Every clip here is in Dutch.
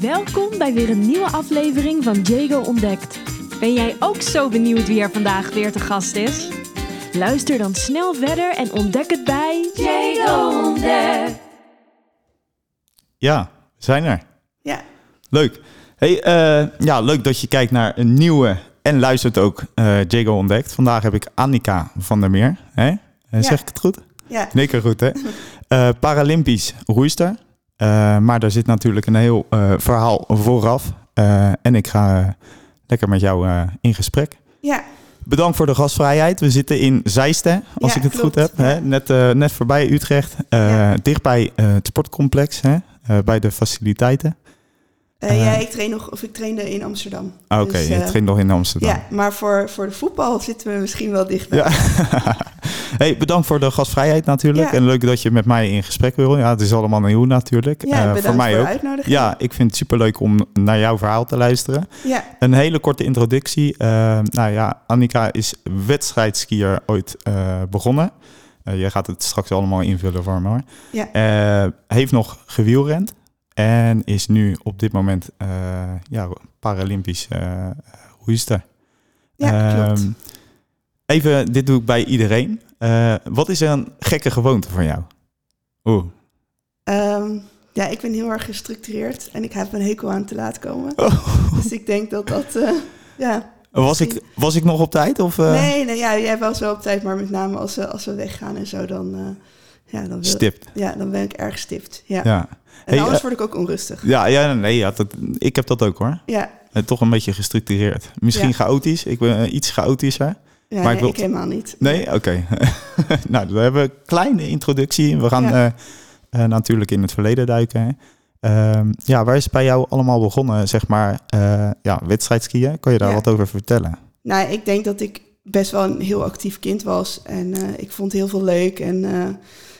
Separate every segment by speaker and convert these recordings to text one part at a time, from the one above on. Speaker 1: Welkom bij weer een nieuwe aflevering van Diego Ontdekt.
Speaker 2: Ben jij ook zo benieuwd wie er vandaag weer te gast is?
Speaker 1: Luister dan snel verder en ontdek het bij
Speaker 2: Diego Ontdekt.
Speaker 3: Ja, we zijn er.
Speaker 4: Ja.
Speaker 3: Leuk. Hey, eh, ja, leuk dat je kijkt naar een nieuwe en luistert ook eh Jago Ontdekt. Vandaag heb ik Annika van der Meer. Hè? Eh, Zeg ik het goed?
Speaker 4: Ja.
Speaker 3: Nee, keer goed hè. Eh, Paralympisch roeister. Eh, maar daar zit natuurlijk een heel eh, verhaal vooraf. Eh, en ik ga eh, lekker met jou eh, in gesprek.
Speaker 4: Ja.
Speaker 3: Bedankt voor de gastvrijheid. We zitten in Zeisten, als
Speaker 4: Ja,
Speaker 3: ik het goed
Speaker 4: klopt.
Speaker 3: heb. Hè? Net, eh, net voorbij Utrecht. Eh,
Speaker 4: Ja.
Speaker 3: Dichtbij eh, het sportcomplex, hè? Eh, bij de faciliteiten.
Speaker 4: Eh,
Speaker 3: Eh.
Speaker 4: ja, ik train nog, of ik trainde in Amsterdam.
Speaker 3: Ah, Oké,
Speaker 4: Dus, eh,
Speaker 3: het ging nog in Amsterdam.
Speaker 4: Ja, maar voor, voor de voetbal zitten we misschien wel dichter.
Speaker 3: Ja. hey, bedankt voor de gastvrijheid natuurlijk.
Speaker 4: Ja.
Speaker 3: En leuk dat je met mij in gesprek wil. Ja, het is allemaal nieuw natuurlijk.
Speaker 4: Ja,
Speaker 3: Eh,
Speaker 4: bedankt
Speaker 3: voor mij
Speaker 4: de
Speaker 3: ook.
Speaker 4: uitnodiging.
Speaker 3: Ja, ik vind het superleuk om naar jouw verhaal te luisteren.
Speaker 4: Ja,
Speaker 3: Een hele korte introductie. Eh, nou ja, Annika is wedstrijdskier ooit eh, begonnen. Eh jij gaat het straks allemaal invullen voor me hoor.
Speaker 4: Ja.
Speaker 3: Eh, heeft nog gewielrend. En is nu op dit moment eh, ja, Paralympisch eh roeister.
Speaker 4: ja, klopt.
Speaker 3: Ehm, even, dit doe ik bij iedereen. Eh, wat is een gekke gewoonte van jou? Oeh.
Speaker 4: Ehm, ja, ik ben heel erg gestructureerd en ik heb een hekel aan te laat komen.
Speaker 3: Oh,
Speaker 4: Dus ik denk dat dat... eh, ja.
Speaker 3: was, ik, was ik nog op tijd? Of, eh,
Speaker 4: Nee, nee ja, jij was wel op tijd, maar met name als we, als we weggaan en zo, dan, eh, ja, dan, wil-
Speaker 3: Stipt.
Speaker 4: ja, dan ben ik erg stipt. Ja.
Speaker 3: Ja.
Speaker 4: En
Speaker 3: Hey,
Speaker 4: anders
Speaker 3: eh,
Speaker 4: word ik ook onrustig.
Speaker 3: ja, ja, nee, ja dat, ik heb dat ook hoor.
Speaker 4: Ja,
Speaker 3: Eh, toch een beetje gestructureerd. Misschien
Speaker 4: Ja.
Speaker 3: chaotisch. Ik ben eh, iets chaotischer. Maar
Speaker 4: ja
Speaker 3: ik
Speaker 4: nee,
Speaker 3: wil-
Speaker 4: ik helemaal niet.
Speaker 3: Nee? Oké. nou, we hebben een kleine introductie. We gaan
Speaker 4: Ja.
Speaker 3: eh, eh, natuurlijk in het verleden duiken. hè. Ehm, ja, waar is het bij jou allemaal begonnen? Zeg maar, eh ja, wedstrijdskiën. Kun je daar
Speaker 4: Ja.
Speaker 3: wat over vertellen?
Speaker 4: Nou, ik denk dat ik best wel een heel actief kind was. En eh, ik vond heel veel leuk. En eh,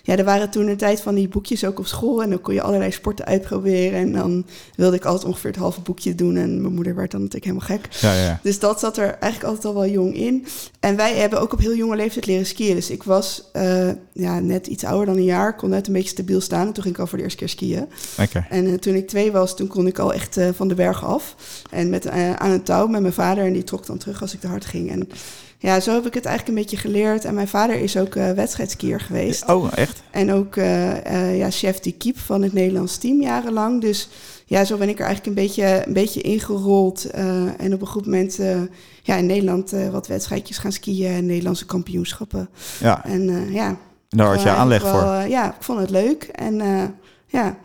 Speaker 4: ja, er waren toen een tijd van die boekjes ook op school. En dan kon je allerlei sporten uitproberen. En dan wilde ik altijd ongeveer het halve boekje doen. En mijn moeder werd dan natuurlijk helemaal gek.
Speaker 3: Ja, ja, ja.
Speaker 4: Dus dat zat er eigenlijk altijd al wel jong in. En wij hebben ook op heel jonge leeftijd leren skiën. Dus ik was eh, ja, net iets ouder dan een jaar. Kon net een beetje stabiel staan. En toen ging ik al voor de eerste keer skiën.
Speaker 3: Lekker.
Speaker 4: En eh, toen ik twee was, toen kon ik al echt eh, van de berg af. En met, eh, aan een touw met mijn vader. En die trok dan terug als ik te hard ging. En ja, zo heb ik het eigenlijk een beetje geleerd. En mijn vader is ook eh wedstrijdskier geweest.
Speaker 3: Oh, echt?
Speaker 4: En ook eh, eh, ja, chef die keep van het Nederlands team jarenlang. Dus ja, zo ben ik er eigenlijk een beetje, een beetje ingerold. eh, en op een goed moment eh, ja, in Nederland eh, wat wedstrijdjes gaan skiën. En Nederlandse kampioenschappen.
Speaker 3: Ja,
Speaker 4: En eh, ja,
Speaker 3: daar had je
Speaker 4: gewoon
Speaker 3: aanleg
Speaker 4: eigenlijk
Speaker 3: voor.
Speaker 4: wel, eh, ja, ik vond het leuk. En eh, ja...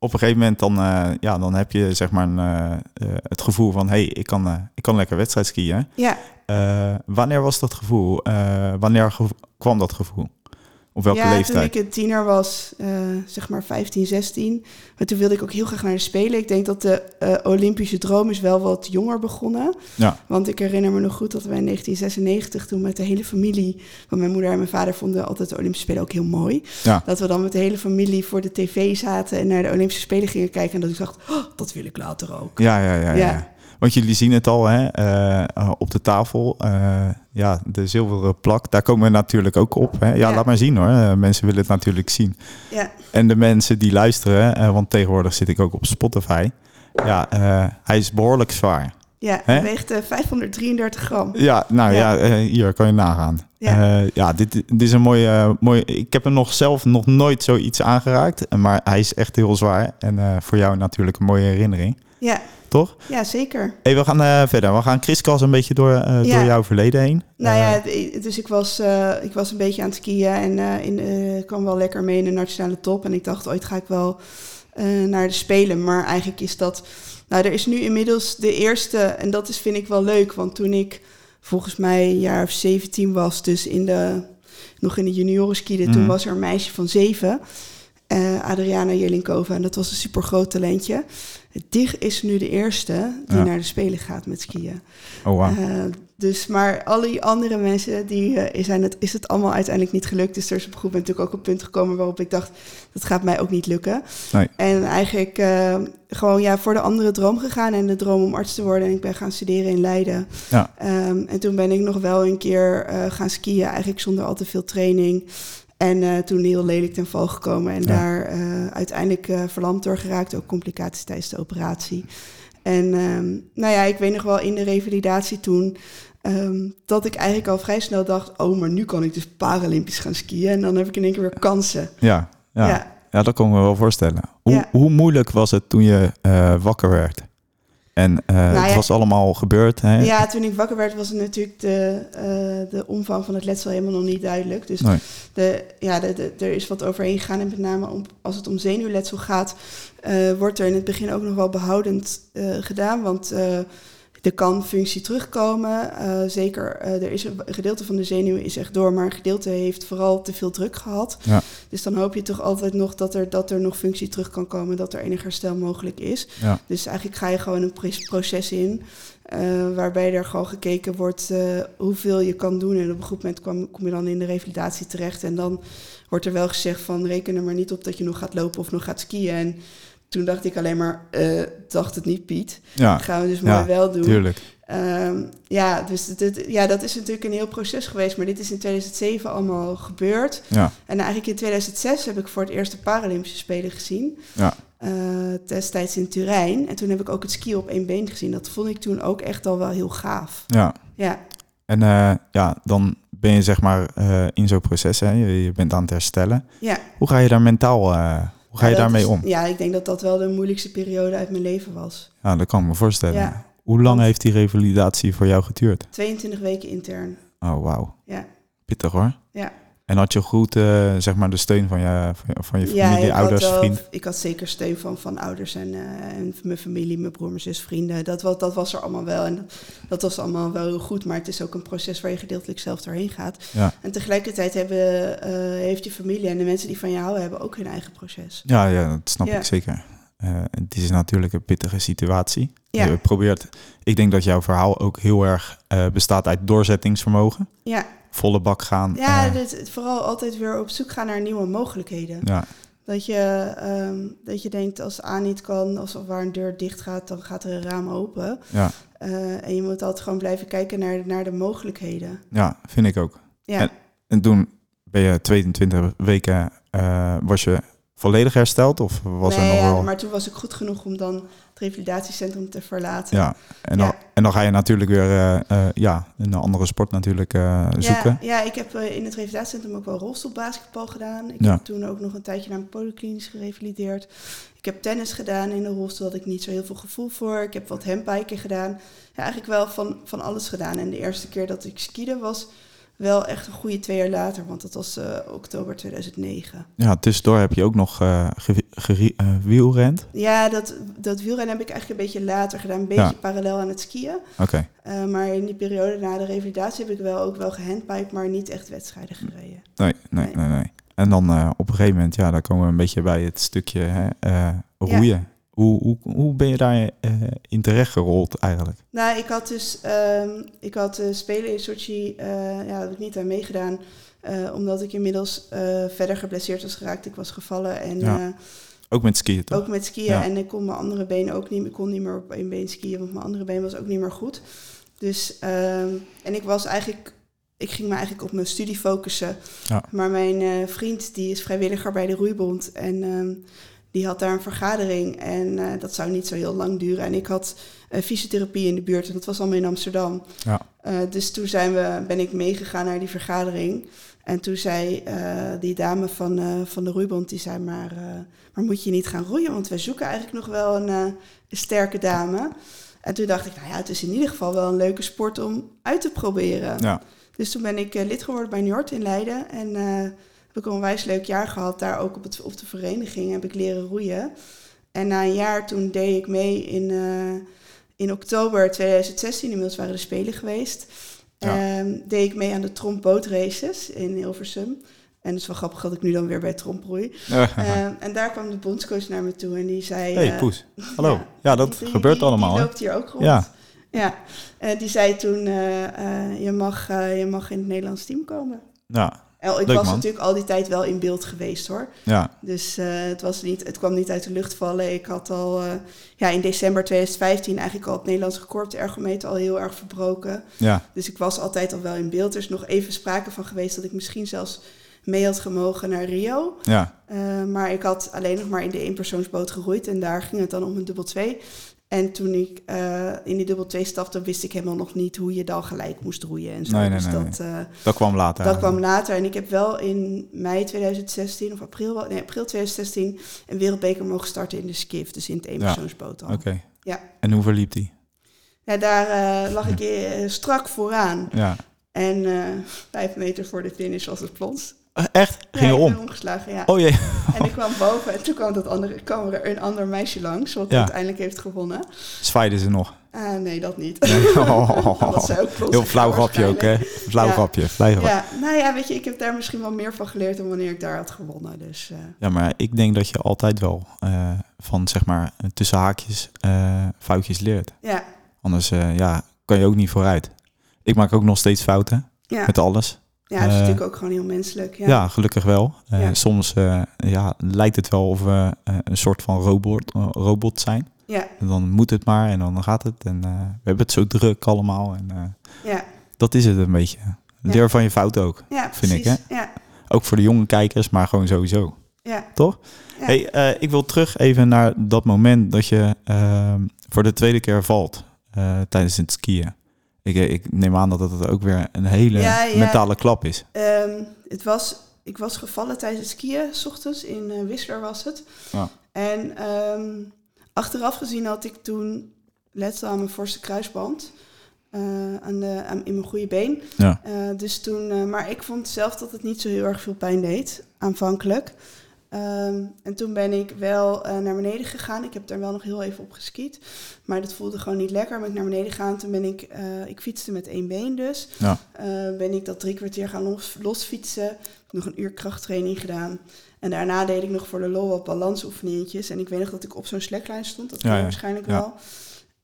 Speaker 3: Op een gegeven moment dan, eh, ja, dan heb je zeg maar een, eh, eh, het gevoel van... hé, hey, ik, kan, eh, ik kan lekker wedstrijd skiën.
Speaker 4: Ja,
Speaker 3: Eh, wanneer was dat gevoel? Eh, wanneer gevo- kwam dat gevoel? Op welke
Speaker 4: ja, toen
Speaker 3: leeftijd?
Speaker 4: ik een tiener was, eh, zeg maar 15, 16. Maar toen wilde ik ook heel graag naar de Spelen. Ik denk dat de eh, Olympische droom is wel wat jonger begonnen.
Speaker 3: Ja.
Speaker 4: Want ik herinner me nog goed dat wij in 1996 toen met de hele familie... Want mijn moeder en mijn vader vonden altijd de Olympische Spelen ook heel mooi.
Speaker 3: Ja.
Speaker 4: Dat we dan met de hele familie voor de tv zaten en naar de Olympische Spelen gingen kijken. En dat ik dacht, "Oh, dat wil ik later ook.
Speaker 3: Ja, ja, ja, ja.
Speaker 4: Ja.
Speaker 3: Want jullie zien het al hè, eh, eh, op de tafel. eh, ja, de zilveren plak, daar komen we natuurlijk ook op. Hè. Ja,
Speaker 4: Ja.
Speaker 3: laat maar zien hoor. Eh, mensen willen het natuurlijk zien.
Speaker 4: Ja,
Speaker 3: En de mensen die luisteren, eh, want tegenwoordig zit ik ook op Spotify. Ja, eh, hij is behoorlijk zwaar.
Speaker 4: ja
Speaker 3: Hè?
Speaker 4: weegt eh, 533 gram.
Speaker 3: Ja, nou ja,
Speaker 4: Ja.
Speaker 3: eh, hier kan je nagaan. Ja,
Speaker 4: Ja.
Speaker 3: ja dit, dit is een mooie, eh, mooie... Ik heb hem nog zelf nog nooit zoiets aangeraakt. eh, Maar hij is echt heel zwaar. En eh, voor jou natuurlijk een mooie herinnering,
Speaker 4: Ja,
Speaker 3: toch?
Speaker 4: ja zeker.
Speaker 3: Hey, we gaan eh, verder. We gaan kriskras een beetje door, eh,
Speaker 4: Ja.
Speaker 3: door jouw verleden heen.
Speaker 4: Nou
Speaker 3: Eh,
Speaker 4: ja, d- dus ik was, eh, ik was een beetje aan het skiën en eh, in, eh, kwam wel lekker mee in de nationale top. En ik dacht, ooit ga ik wel eh, naar de Spelen. Maar eigenlijk is dat... Nou, er is nu inmiddels de eerste, en dat is, vind ik wel leuk. Want toen ik volgens mij een jaar of 17 was, dus in de, nog in de junioren skiede... toen
Speaker 3: Mhm.
Speaker 4: was er een meisje van zeven, eh, Adriana Jelinkova. En dat was een super groot talentje. Die is nu de eerste die
Speaker 3: Ja.
Speaker 4: naar de Spelen gaat met skiën.
Speaker 3: Oh, wauw.
Speaker 4: Eh, dus, maar alle die andere mensen, die, eh, zijn het, is het allemaal uiteindelijk niet gelukt. Dus er is op een goed moment natuurlijk ook een punt gekomen waarop ik dacht, dat gaat mij ook niet lukken.
Speaker 3: Nee.
Speaker 4: En eigenlijk eh, gewoon ja, voor de andere droom gegaan en de droom om arts te worden. En ik ben gaan studeren in Leiden.
Speaker 3: Ja.
Speaker 4: Ehm, en toen ben ik nog wel een keer eh, gaan skiën, eigenlijk zonder al te veel training. En eh, toen heel lelijk ten val gekomen en
Speaker 3: Ja.
Speaker 4: daar eh, uiteindelijk eh, verlamd door geraakt. Ook complicaties tijdens de operatie. En ehm, nou ja, ik weet nog wel in de revalidatie toen ehm, dat ik eigenlijk al vrij snel dacht: oh, maar nu kan ik dus Paralympisch gaan skiën. En dan heb ik in één keer weer kansen.
Speaker 3: Ja, ja. ja.
Speaker 4: ja.
Speaker 3: dat kon ik me wel voorstellen. Hoe,
Speaker 4: Ja.
Speaker 3: hoe moeilijk was het toen je eh, wakker werd? En eh,
Speaker 4: Nou ja.
Speaker 3: het was allemaal gebeurd. Hè?
Speaker 4: Ja, toen ik wakker werd was natuurlijk de, eh, de omvang van het letsel helemaal nog niet duidelijk. Dus
Speaker 3: Nee.
Speaker 4: de, ja, de, de- er is wat overheen gegaan. En met name om, als het om zenuwletsel gaat, eh, wordt er in het begin ook nog wel behoudend eh, gedaan. Want eh, er kan functie terugkomen. Eh, zeker, eh, er is een, een gedeelte van de zenuw is echt door, maar een gedeelte heeft vooral te veel druk gehad.
Speaker 3: Ja.
Speaker 4: Dus dan hoop je toch altijd nog dat er, dat er nog functie terug kan komen, dat er enig herstel mogelijk is.
Speaker 3: Ja.
Speaker 4: Dus eigenlijk ga je gewoon een pres- proces in. eh, waarbij er gewoon gekeken wordt eh, hoeveel je kan doen. En op een goed moment kwam, kom je dan in de revalidatie terecht. En dan wordt er wel gezegd van reken er maar niet op dat je nog gaat lopen of nog gaat skiën. En toen dacht ik alleen maar, eh, dacht het niet Piet.
Speaker 3: ja,
Speaker 4: Dat gaan we dus
Speaker 3: Ja,
Speaker 4: maar wel doen.
Speaker 3: tuurlijk.
Speaker 4: Ehm, ja, dus dit- dit- ja, dat is natuurlijk een heel proces geweest. Maar dit is in 2007 allemaal gebeurd.
Speaker 3: Ja,
Speaker 4: En eigenlijk in 2006 heb ik voor het eerst de Paralympische Spelen gezien.
Speaker 3: Ja.
Speaker 4: Eh, destijds in Turijn. En toen heb ik ook het skiën op één been gezien. Dat vond ik toen ook echt al wel heel gaaf.
Speaker 3: ja.
Speaker 4: Ja,
Speaker 3: En eh, ja, dan ben je zeg maar eh, in zo'n proces, hè? Je, je bent aan het herstellen.
Speaker 4: ja.
Speaker 3: Hoe ga je daar mentaal, eh, hoe ga je
Speaker 4: Ja, dat
Speaker 3: daarmee
Speaker 4: is-
Speaker 3: om?
Speaker 4: Ja, ik denk dat dat wel de moeilijkste periode uit mijn leven was.
Speaker 3: Ja, dat kan ik me voorstellen.
Speaker 4: Ja.
Speaker 3: Hoe lang heeft die revalidatie voor jou geduurd?
Speaker 4: 22 weken intern.
Speaker 3: Oh, wauw.
Speaker 4: Ja.
Speaker 3: Pittig hoor.
Speaker 4: Ja.
Speaker 3: En had je goed eh, zeg maar de steun van je, van je, van je familie,
Speaker 4: ik
Speaker 3: ouders,
Speaker 4: had wel-
Speaker 3: vrienden?
Speaker 4: Ik had zeker steun van, van ouders en, eh, en van mijn familie, mijn broer, mijn zus, vrienden. Dat, wa- dat was er allemaal wel. En dat, dat was allemaal wel heel goed. Maar het is ook een proces waar je gedeeltelijk zelf doorheen gaat.
Speaker 3: Ja.
Speaker 4: En tegelijkertijd hebben, eh, heeft je familie en de mensen die van je houden hebben ook hun eigen proces.
Speaker 3: Ja, ja, dat snap
Speaker 4: Ja.
Speaker 3: ik zeker. Eh, het is natuurlijk een pittige situatie.
Speaker 4: Ja.
Speaker 3: Je Eh, probeert, ik denk dat jouw verhaal ook heel erg eh, bestaat uit doorzettingsvermogen.
Speaker 4: Ja,
Speaker 3: Volle bak gaan.
Speaker 4: ja dus-
Speaker 3: eh,
Speaker 4: dit- vooral altijd weer op zoek gaan naar nieuwe mogelijkheden.
Speaker 3: ja,
Speaker 4: Dat je, ehm, dat je denkt, als A niet kan, als er waar een deur dicht gaat, dan gaat er een raam open.
Speaker 3: ja,
Speaker 4: Eh, en je moet altijd gewoon blijven kijken naar, naar de mogelijkheden.
Speaker 3: ja, vind ik ook.
Speaker 4: Ja.
Speaker 3: En toen ben je 22 weken, eh, was je volledig hersteld of was
Speaker 4: nee,
Speaker 3: er nog
Speaker 4: ja,
Speaker 3: wel...
Speaker 4: maar toen was ik goed genoeg om dan het revalidatiecentrum te verlaten.
Speaker 3: Ja, en dan,
Speaker 4: Ja.
Speaker 3: en dan ga je natuurlijk weer eh, eh, ja, een andere sport natuurlijk eh, zoeken.
Speaker 4: Ja, ja, ik heb eh, in het revalidatiecentrum ook wel rolstoelbasketbal gedaan. Ik
Speaker 3: Ja.
Speaker 4: heb toen ook nog een tijdje naar een polyklinisch gerevalideerd. Ik heb tennis gedaan in de rolstoel, had ik niet zo heel veel gevoel voor. Ik heb wat handbiken gedaan. Ja, eigenlijk wel van, van alles gedaan. En de eerste keer dat ik skiede was wel echt een goede twee jaar later, want dat was eh, oktober 2009.
Speaker 3: Ja, tussendoor heb je ook nog eh ge- ge- eh, wielrend.
Speaker 4: Ja, dat, dat wielrennen heb ik eigenlijk een beetje later gedaan, een beetje
Speaker 3: Ja.
Speaker 4: parallel aan het skiën.
Speaker 3: Oké,
Speaker 4: Eh, maar in die periode na de revalidatie heb ik wel ook wel gehandpiped, maar niet echt wedstrijden gereden.
Speaker 3: nee, nee, nee,
Speaker 4: Nee.
Speaker 3: nee, En dan eh, op een gegeven moment, ja, dan komen we een beetje bij het stukje hè, eh, roeien. Hoe, hoe, hoe ben je daar eh, in terecht gerold eigenlijk?
Speaker 4: Nou, ik had dus ehm, ik had de spelen in Sochi, eh ja, daar heb ik niet aan meegedaan, eh, omdat ik inmiddels eh, verder geblesseerd was geraakt. Ik was gevallen en
Speaker 3: Ja,
Speaker 4: eh,
Speaker 3: Ook met skiën toch?
Speaker 4: ook met skiën
Speaker 3: Ja.
Speaker 4: en ik kon mijn andere been ook niet, ik kon niet meer op één been skiën, want mijn andere been was ook niet meer goed. Dus ehm, en ik was eigenlijk, ik ging me eigenlijk op mijn studie focussen.
Speaker 3: Ja.
Speaker 4: Maar mijn eh, vriend die is vrijwilliger bij de roeibond en ehm, die had daar een vergadering en eh, dat zou niet zo heel lang duren. En ik had eh, fysiotherapie in de buurt en dat was allemaal in Amsterdam.
Speaker 3: Ja.
Speaker 4: Eh, dus toen zijn we, ben ik meegegaan naar die vergadering. En toen zei eh, die dame van, eh, van de roeibond, die zei maar, eh, maar moet je niet gaan roeien? Want wij zoeken eigenlijk nog wel een, eh, een sterke dame. En toen dacht ik, nou ja, het is in ieder geval wel een leuke sport om uit te proberen.
Speaker 3: Ja.
Speaker 4: Dus toen ben ik eh, lid geworden bij Njord in Leiden. En eh, heb ik een onwijs leuk jaar gehad. Daar ook op, het, op de vereniging heb ik leren roeien. En na een jaar toen deed ik mee in, eh, in oktober 2016. Inmiddels waren de Spelen geweest.
Speaker 3: Ja.
Speaker 4: Ehm, deed ik mee aan de trompbootraces in Hilversum. En het is wel grappig dat ik nu dan weer bij tromp roei. Ehm, en daar kwam de bondscoach naar me toe en die zei...
Speaker 3: hey,
Speaker 4: eh,
Speaker 3: Poes. Hallo. Ja,
Speaker 4: ja,
Speaker 3: Ah, dat
Speaker 4: die- die-
Speaker 3: gebeurt
Speaker 4: die-
Speaker 3: allemaal.
Speaker 4: Die
Speaker 3: hè?
Speaker 4: loopt hier ook rond.
Speaker 3: Ja.
Speaker 4: Ja. ja. Eh, die zei toen, eh, eh, je, mag, eh, je mag in het Nederlands team komen.
Speaker 3: Ja,
Speaker 4: El, ik
Speaker 3: Leuk,
Speaker 4: was
Speaker 3: man.
Speaker 4: natuurlijk al die tijd wel in beeld geweest hoor.
Speaker 3: ja,
Speaker 4: Dus eh, het, was niet, het kwam niet uit de lucht vallen. Ik had al eh, ja, in december 2015 eigenlijk al het Nederlands record op de ergometer al heel erg verbroken.
Speaker 3: ja.
Speaker 4: Dus ik was altijd al wel in beeld. Er is nog even sprake van geweest dat ik misschien zelfs mee had gemogen naar Rio.
Speaker 3: Ja,
Speaker 4: Eh, maar ik had alleen nog maar in de eenpersoonsboot geroeid. En daar ging het dan om een dubbel 2. En toen ik eh, in die dubbel 2 stapte, wist ik helemaal nog niet hoe je dan gelijk moest roeien. En zo.
Speaker 3: Nee, nee,
Speaker 4: dus
Speaker 3: nee,
Speaker 4: dat, eh,
Speaker 3: dat kwam later.
Speaker 4: dat kwam later. En ik heb wel in mei 2016, of april, wel- nee, april 2016, een wereldbeker mogen starten in de skiff. Dus in het eenpersoonsboot al.
Speaker 3: Oké.
Speaker 4: Ja.
Speaker 3: En hoe verliep die?
Speaker 4: Ja, daar eh, lag ik eh, strak vooraan.
Speaker 3: Ja.
Speaker 4: En eh, vijf meter voor de finish was het plons.
Speaker 3: Eh, Echt?
Speaker 4: Ja,
Speaker 3: Ging
Speaker 4: ik
Speaker 3: je
Speaker 4: ben
Speaker 3: om?
Speaker 4: omgeslagen, ja.
Speaker 3: Oh jee.
Speaker 4: En ik kwam boven en toen kwam, dat andere, kwam er een ander meisje langs, wat
Speaker 3: Ja.
Speaker 4: uiteindelijk heeft gewonnen.
Speaker 3: Zwaaiden ze nog.
Speaker 4: Ah, nee, dat niet.
Speaker 3: Oh.
Speaker 4: Dat zij ook plons
Speaker 3: Heel flauw
Speaker 4: gegaan
Speaker 3: grapje ook, hè? Flauw
Speaker 4: Ja.
Speaker 3: grapje. Flauw grapje.
Speaker 4: waarschijnlijk. Ja, nou ja, weet je, ik heb daar misschien wel meer van geleerd dan wanneer ik daar had gewonnen. Dus eh,
Speaker 3: Ja, maar ik denk dat je altijd wel eh, van, zeg maar, tussen haakjes eh, foutjes leert.
Speaker 4: ja,
Speaker 3: Anders eh, ja, kan je ook niet vooruit. Ik maak ook nog steeds fouten
Speaker 4: ja.
Speaker 3: met alles.
Speaker 4: ja, dat is
Speaker 3: eh,
Speaker 4: natuurlijk ook gewoon heel menselijk. Ja,
Speaker 3: Ja, gelukkig wel. Eh,
Speaker 4: Ja.
Speaker 3: Soms eh, ja, lijkt het wel of we eh, een soort van robot, eh, robot zijn.
Speaker 4: ja,
Speaker 3: En dan moet het maar en dan gaat het. En eh, we hebben het zo druk allemaal. En eh,
Speaker 4: ja,
Speaker 3: dat is het een beetje. Leer van je fouten ook.
Speaker 4: ja,
Speaker 3: Vind ik,
Speaker 4: precies. Ja,
Speaker 3: Ook voor de jonge kijkers, maar gewoon sowieso.
Speaker 4: ja,
Speaker 3: Toch?
Speaker 4: Ja.
Speaker 3: Hey, eh, ik wil terug even naar dat moment dat je ehm, voor de tweede keer valt eh, tijdens het skiën. Ik, eh, ik neem aan dat dat ook weer een hele
Speaker 4: Ja, ja.
Speaker 3: mentale klap is.
Speaker 4: Ehm, het was, ik was gevallen tijdens het skiën, s ochtends in eh, Whistler was het.
Speaker 3: Ja.
Speaker 4: En ehm, achteraf gezien had ik toen letsel aan mijn voorste kruisband. eh, aan de, aan, in mijn goede been.
Speaker 3: Ja.
Speaker 4: Eh, dus toen, eh, maar ik vond zelf dat het niet zo heel erg veel pijn deed, aanvankelijk. Ehm, en toen ben ik wel eh, naar beneden gegaan. Ik heb daar wel nog heel even op geskiet. Maar dat voelde gewoon niet lekker. Ben ik naar beneden gegaan. Toen ben ik, eh, ik fietste met één been dus.
Speaker 3: Ja.
Speaker 4: Eh, ben ik dat drie kwartier gaan los, losfietsen. Heb nog een uur krachttraining gedaan. En daarna deed ik nog voor de lol wat balansoefeningetjes. En ik weet nog dat ik op zo'n slackline stond. Dat
Speaker 3: Ja,
Speaker 4: ken je
Speaker 3: ja.
Speaker 4: waarschijnlijk
Speaker 3: Ja.
Speaker 4: wel.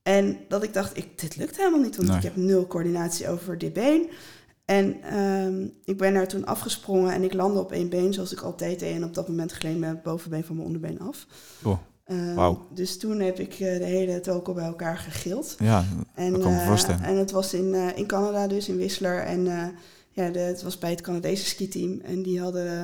Speaker 4: En dat ik dacht, ik, dit lukt helemaal niet. Want
Speaker 3: Nee.
Speaker 4: ik heb nul coördinatie over dit been. En ehm, ik ben daar toen afgesprongen en ik landde op één been, zoals ik altijd deed. En op dat moment gleed mijn bovenbeen van mijn onderbeen af.
Speaker 3: Oh,
Speaker 4: Ehm,
Speaker 3: Wauw.
Speaker 4: Dus toen heb ik eh, de hele toko bij elkaar gegild.
Speaker 3: ja.
Speaker 4: En,
Speaker 3: Dat kan ik me
Speaker 4: eh,
Speaker 3: voorstellen.
Speaker 4: en het was in, eh, in Canada dus, in Whistler. En eh, ja, de- het was bij het Canadese skiteam. En die hadden, eh,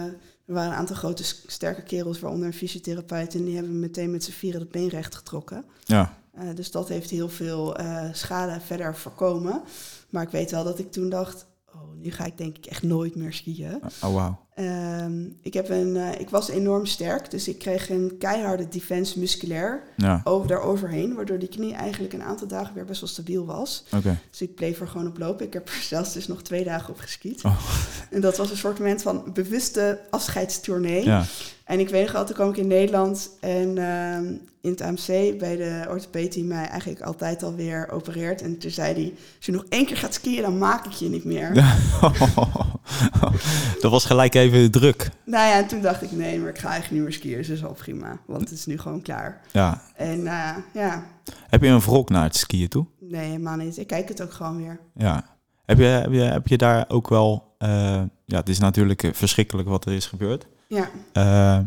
Speaker 4: er waren een aantal grote s- sterke kerels, waaronder een fysiotherapeut. En die hebben meteen met z'n vieren het been recht getrokken.
Speaker 3: ja.
Speaker 4: Eh, dus dat heeft heel veel eh, schade verder voorkomen. Maar ik weet wel dat ik toen dacht, oh, nu ga ik denk ik echt nooit meer skiën.
Speaker 3: Oh, wauw.
Speaker 4: Ehm, ik, heb een, eh, ik was enorm sterk, dus ik kreeg een keiharde defense musculair
Speaker 3: Ja,
Speaker 4: over, daaroverheen. Waardoor die knie eigenlijk een aantal dagen weer best wel stabiel was.
Speaker 3: oké.
Speaker 4: Dus ik bleef er gewoon op lopen. Ik heb er zelfs dus nog twee dagen op geskiet.
Speaker 3: Oh.
Speaker 4: En dat was een soort moment van bewuste afscheidstournee.
Speaker 3: Ja,
Speaker 4: En ik weet nog wel, toen kwam ik in Nederland en ehm, in het AMC bij de orthopeet die mij eigenlijk altijd alweer opereert. En toen zei hij, als je nog één keer gaat skiën, dan maak ik je niet meer.
Speaker 3: dat was gelijk even druk.
Speaker 4: Nou ja, en toen dacht ik, nee, maar ik ga eigenlijk niet meer skiën, dus dat is al prima. Want het is nu gewoon klaar.
Speaker 3: Ja.
Speaker 4: En eh, ja,
Speaker 3: Heb je een wrok naar het skiën toe?
Speaker 4: nee, helemaal niet. Ik kijk het ook gewoon weer.
Speaker 3: Ja. Heb je, heb je, heb je daar ook wel... eh, ja, het is natuurlijk eh, verschrikkelijk wat er is gebeurd.
Speaker 4: Ja,
Speaker 3: Eh,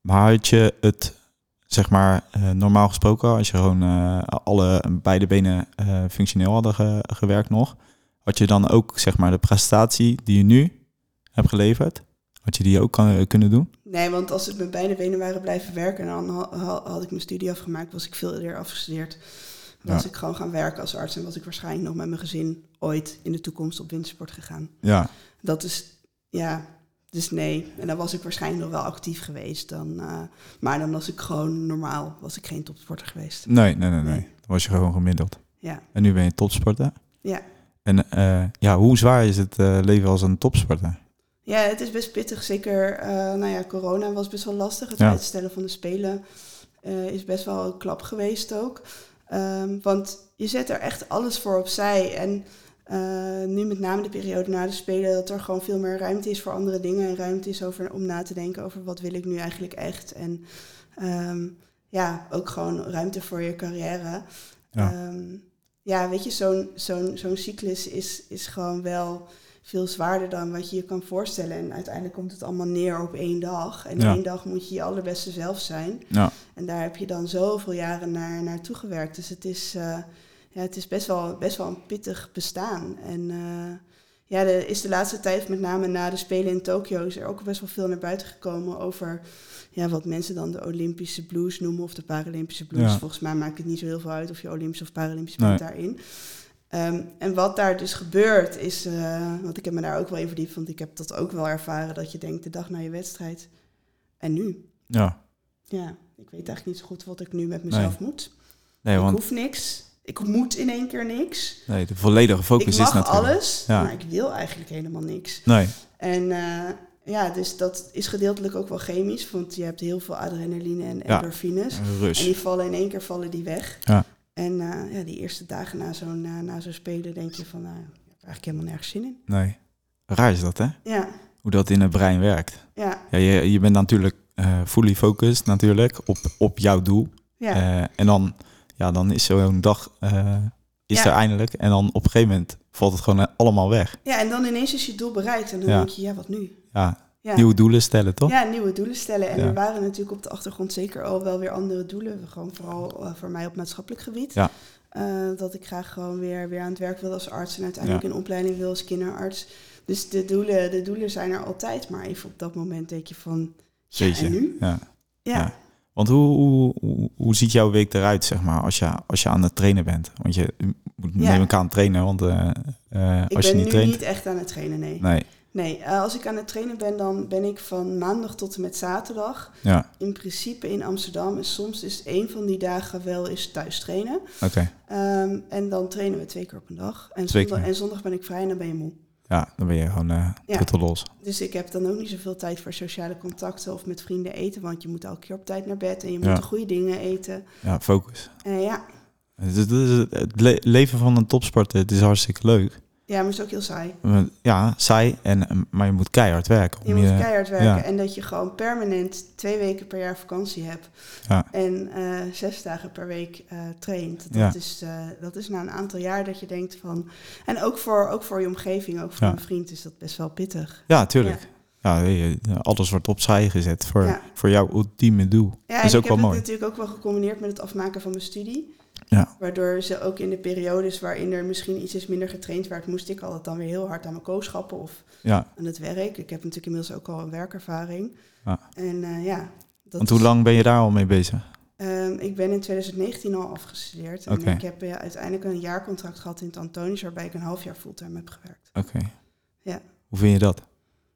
Speaker 3: maar had je het, zeg maar, eh, normaal gesproken... als je gewoon eh, alle beide benen eh, functioneel hadden ge- gewerkt nog... had je dan ook, zeg maar, de prestatie die je nu hebt geleverd... had je die ook kan, kunnen doen?
Speaker 4: nee, want als het met beide benen waren blijven werken, dan ha- ha- had ik mijn studie afgemaakt, was ik veel eerder afgestudeerd. Was
Speaker 3: Ja.
Speaker 4: ik gewoon gaan werken als arts en was ik waarschijnlijk nog met mijn gezin ooit in de toekomst op windsport gegaan.
Speaker 3: Ja,
Speaker 4: Dat is, ja, dus nee. En dan was ik waarschijnlijk nog wel actief geweest. Dan, eh, maar dan was ik gewoon normaal, was ik geen topsporter geweest.
Speaker 3: nee, nee, nee, nee.
Speaker 4: Nee.
Speaker 3: Dan was je gewoon gemiddeld.
Speaker 4: Ja.
Speaker 3: En nu ben je topsporter.
Speaker 4: Ja.
Speaker 3: En eh, ja, hoe zwaar is het eh, leven als een topsporter?
Speaker 4: Ja, het is best pittig. Zeker, eh, nou ja, corona was best wel lastig. Het
Speaker 3: Ja.
Speaker 4: uitstellen van de Spelen eh, is best wel een klap geweest ook. Ehm, want je zet er echt alles voor opzij. En eh, nu met name de periode na de Spelen... dat er gewoon veel meer ruimte is voor andere dingen... en ruimte is over, om na te denken over wat wil ik nu eigenlijk echt. En ehm, ja, ook gewoon ruimte voor je carrière.
Speaker 3: Ja.
Speaker 4: Ehm, ja weet je, zo'n zo'n zo'n cyclus is, is gewoon wel veel zwaarder dan wat je je kan voorstellen. En uiteindelijk komt het allemaal neer op één dag. En
Speaker 3: Ja.
Speaker 4: één dag moet je je allerbeste zelf zijn.
Speaker 3: Ja.
Speaker 4: En daar heb je dan zoveel jaren naar, naartoe gewerkt. Dus het is, eh, ja, het is best, wel, best wel een pittig bestaan. En eh, ja, er is de laatste tijd, met name na de Spelen in Tokio, is er ook best wel veel naar buiten gekomen over ja, wat mensen dan de Olympische blues noemen of de Paralympische blues.
Speaker 3: Ja.
Speaker 4: Volgens mij maakt het niet zo heel veel uit of je Olympisch of Paralympisch
Speaker 3: Nee.
Speaker 4: bent daarin. Ehm, en wat daar dus gebeurt is, eh, want ik heb me daar ook wel in verdiept, want ik heb dat ook wel ervaren, dat je denkt de dag na je wedstrijd, en nu?
Speaker 3: Ja,
Speaker 4: Ja, ik weet eigenlijk niet zo goed wat ik nu met mezelf moet.
Speaker 3: nee,
Speaker 4: ik
Speaker 3: want
Speaker 4: hoef niks. Ik moet in één keer niks.
Speaker 3: nee, de volledige focus
Speaker 4: ik
Speaker 3: is
Speaker 4: mag
Speaker 3: natuurlijk...
Speaker 4: alles,
Speaker 3: Ja.
Speaker 4: maar ik wil eigenlijk helemaal niks.
Speaker 3: Nee,
Speaker 4: En eh, ja, dus dat is gedeeltelijk ook wel chemisch, want je hebt heel veel adrenaline en endorfines. En
Speaker 3: rust.
Speaker 4: die vallen in één keer vallen die weg.
Speaker 3: dus- Ja.
Speaker 4: En eh, ja, die eerste dagen na zo'n na- na zo'n spelen denk je van, nou, ik heb eigenlijk helemaal nergens zin in.
Speaker 3: Nee. Raar is dat, hè?
Speaker 4: Ja,
Speaker 3: Hoe dat in het brein werkt.
Speaker 4: ja,
Speaker 3: Ja, je, je bent natuurlijk eh, fully focused natuurlijk op, op jouw doel.
Speaker 4: ja.
Speaker 3: Eh, en dan, ja, dan is zo'n dag eh, is
Speaker 4: Ja.
Speaker 3: er eindelijk. En dan op een gegeven moment valt het gewoon eh, allemaal weg.
Speaker 4: ja, en dan ineens is je doel bereikt en dan
Speaker 3: Ja.
Speaker 4: denk je, ja, wat nu?
Speaker 3: Ja,
Speaker 4: Ja.
Speaker 3: nieuwe doelen stellen, toch?
Speaker 4: Ja, nieuwe doelen stellen. En
Speaker 3: Ja.
Speaker 4: er waren natuurlijk op de achtergrond zeker al wel weer andere doelen. Gewoon vooral eh, voor mij op maatschappelijk gebied.
Speaker 3: Ja.
Speaker 4: Eh, dat ik graag gewoon weer, weer aan het werk wil als arts en uiteindelijk
Speaker 3: Ja.
Speaker 4: een opleiding wil als kinderarts. Dus de doelen, de doelen zijn er altijd. Maar even op dat moment denk je van, ja,
Speaker 3: Jeetje.
Speaker 4: en nu?
Speaker 3: Ja.
Speaker 4: Ja.
Speaker 3: Ja. Want hoe, hoe, hoe, hoe ziet jouw week eruit, zeg maar, als je, als je aan het trainen bent? Want je moet,
Speaker 4: Ja.
Speaker 3: neem ik aan, trainen, want eh, eh,
Speaker 4: Ik
Speaker 3: als je
Speaker 4: ben
Speaker 3: niet
Speaker 4: nu
Speaker 3: traint...
Speaker 4: niet echt aan het trainen, nee.
Speaker 3: Nee,
Speaker 4: Nee, eh, als ik aan het trainen ben, dan ben ik van maandag tot en met zaterdag
Speaker 3: ja,
Speaker 4: in principe in Amsterdam. En soms is één van die dagen wel eens thuis trainen.
Speaker 3: oké.
Speaker 4: Ehm, en dan trainen we twee keer op een dag. En
Speaker 3: Twee
Speaker 4: zondag,
Speaker 3: keer.
Speaker 4: en zondag ben ik vrij en dan ben je moe.
Speaker 3: Ja, dan ben je gewoon eh
Speaker 4: Ja.
Speaker 3: totaal los.
Speaker 4: Dus ik heb dan ook niet zoveel tijd voor sociale contacten of met vrienden eten. Want je moet elke keer op tijd naar bed en je moet
Speaker 3: Ja.
Speaker 4: de goede dingen eten.
Speaker 3: Ja, focus.
Speaker 4: En ja.
Speaker 3: Het, Dus is- het is- het le- leven van een topsporter, het is hartstikke leuk.
Speaker 4: ja, maar het is ook heel saai.
Speaker 3: Maar Ja, saai, en, maar je moet keihard werken. om
Speaker 4: Je moet keihard werken.
Speaker 3: ja.
Speaker 4: En dat je gewoon permanent twee weken per jaar vakantie hebt.
Speaker 3: Ja.
Speaker 4: En eh, zes dagen per week eh, traint. Dat,
Speaker 3: Ja.
Speaker 4: is, eh, dat is na een aantal jaar dat je denkt van... En ook voor, ook voor je omgeving, ook voor
Speaker 3: Ja.
Speaker 4: een vriend is dat best wel pittig.
Speaker 3: Ja, tuurlijk. Ja. je- alles wordt opzij gezet voor,
Speaker 4: Ja.
Speaker 3: voor jouw ultieme doel.
Speaker 4: Ja,
Speaker 3: Dat is
Speaker 4: en
Speaker 3: ook
Speaker 4: ik
Speaker 3: wel
Speaker 4: heb
Speaker 3: mooi.
Speaker 4: het natuurlijk ook wel gecombineerd met het afmaken van mijn studie.
Speaker 3: Ja.
Speaker 4: Waardoor ze ook in de periodes waarin er misschien iets is minder getraind werd, moest ik altijd dan weer heel hard aan mijn kooschappen of
Speaker 3: Ja.
Speaker 4: aan het werk. Ik heb natuurlijk inmiddels ook al een werkervaring.
Speaker 3: Ja.
Speaker 4: En eh, ja, dat
Speaker 3: Want hoe
Speaker 4: is-
Speaker 3: lang ben je daar al mee bezig?
Speaker 4: Ehm, ik ben in 2019 al afgestudeerd.
Speaker 3: Oké.
Speaker 4: En ik heb eh, uiteindelijk een jaarcontract gehad in het Antonisch, waarbij ik een half jaar fulltime heb gewerkt.
Speaker 3: Oké.
Speaker 4: Ja.
Speaker 3: Hoe vind je dat?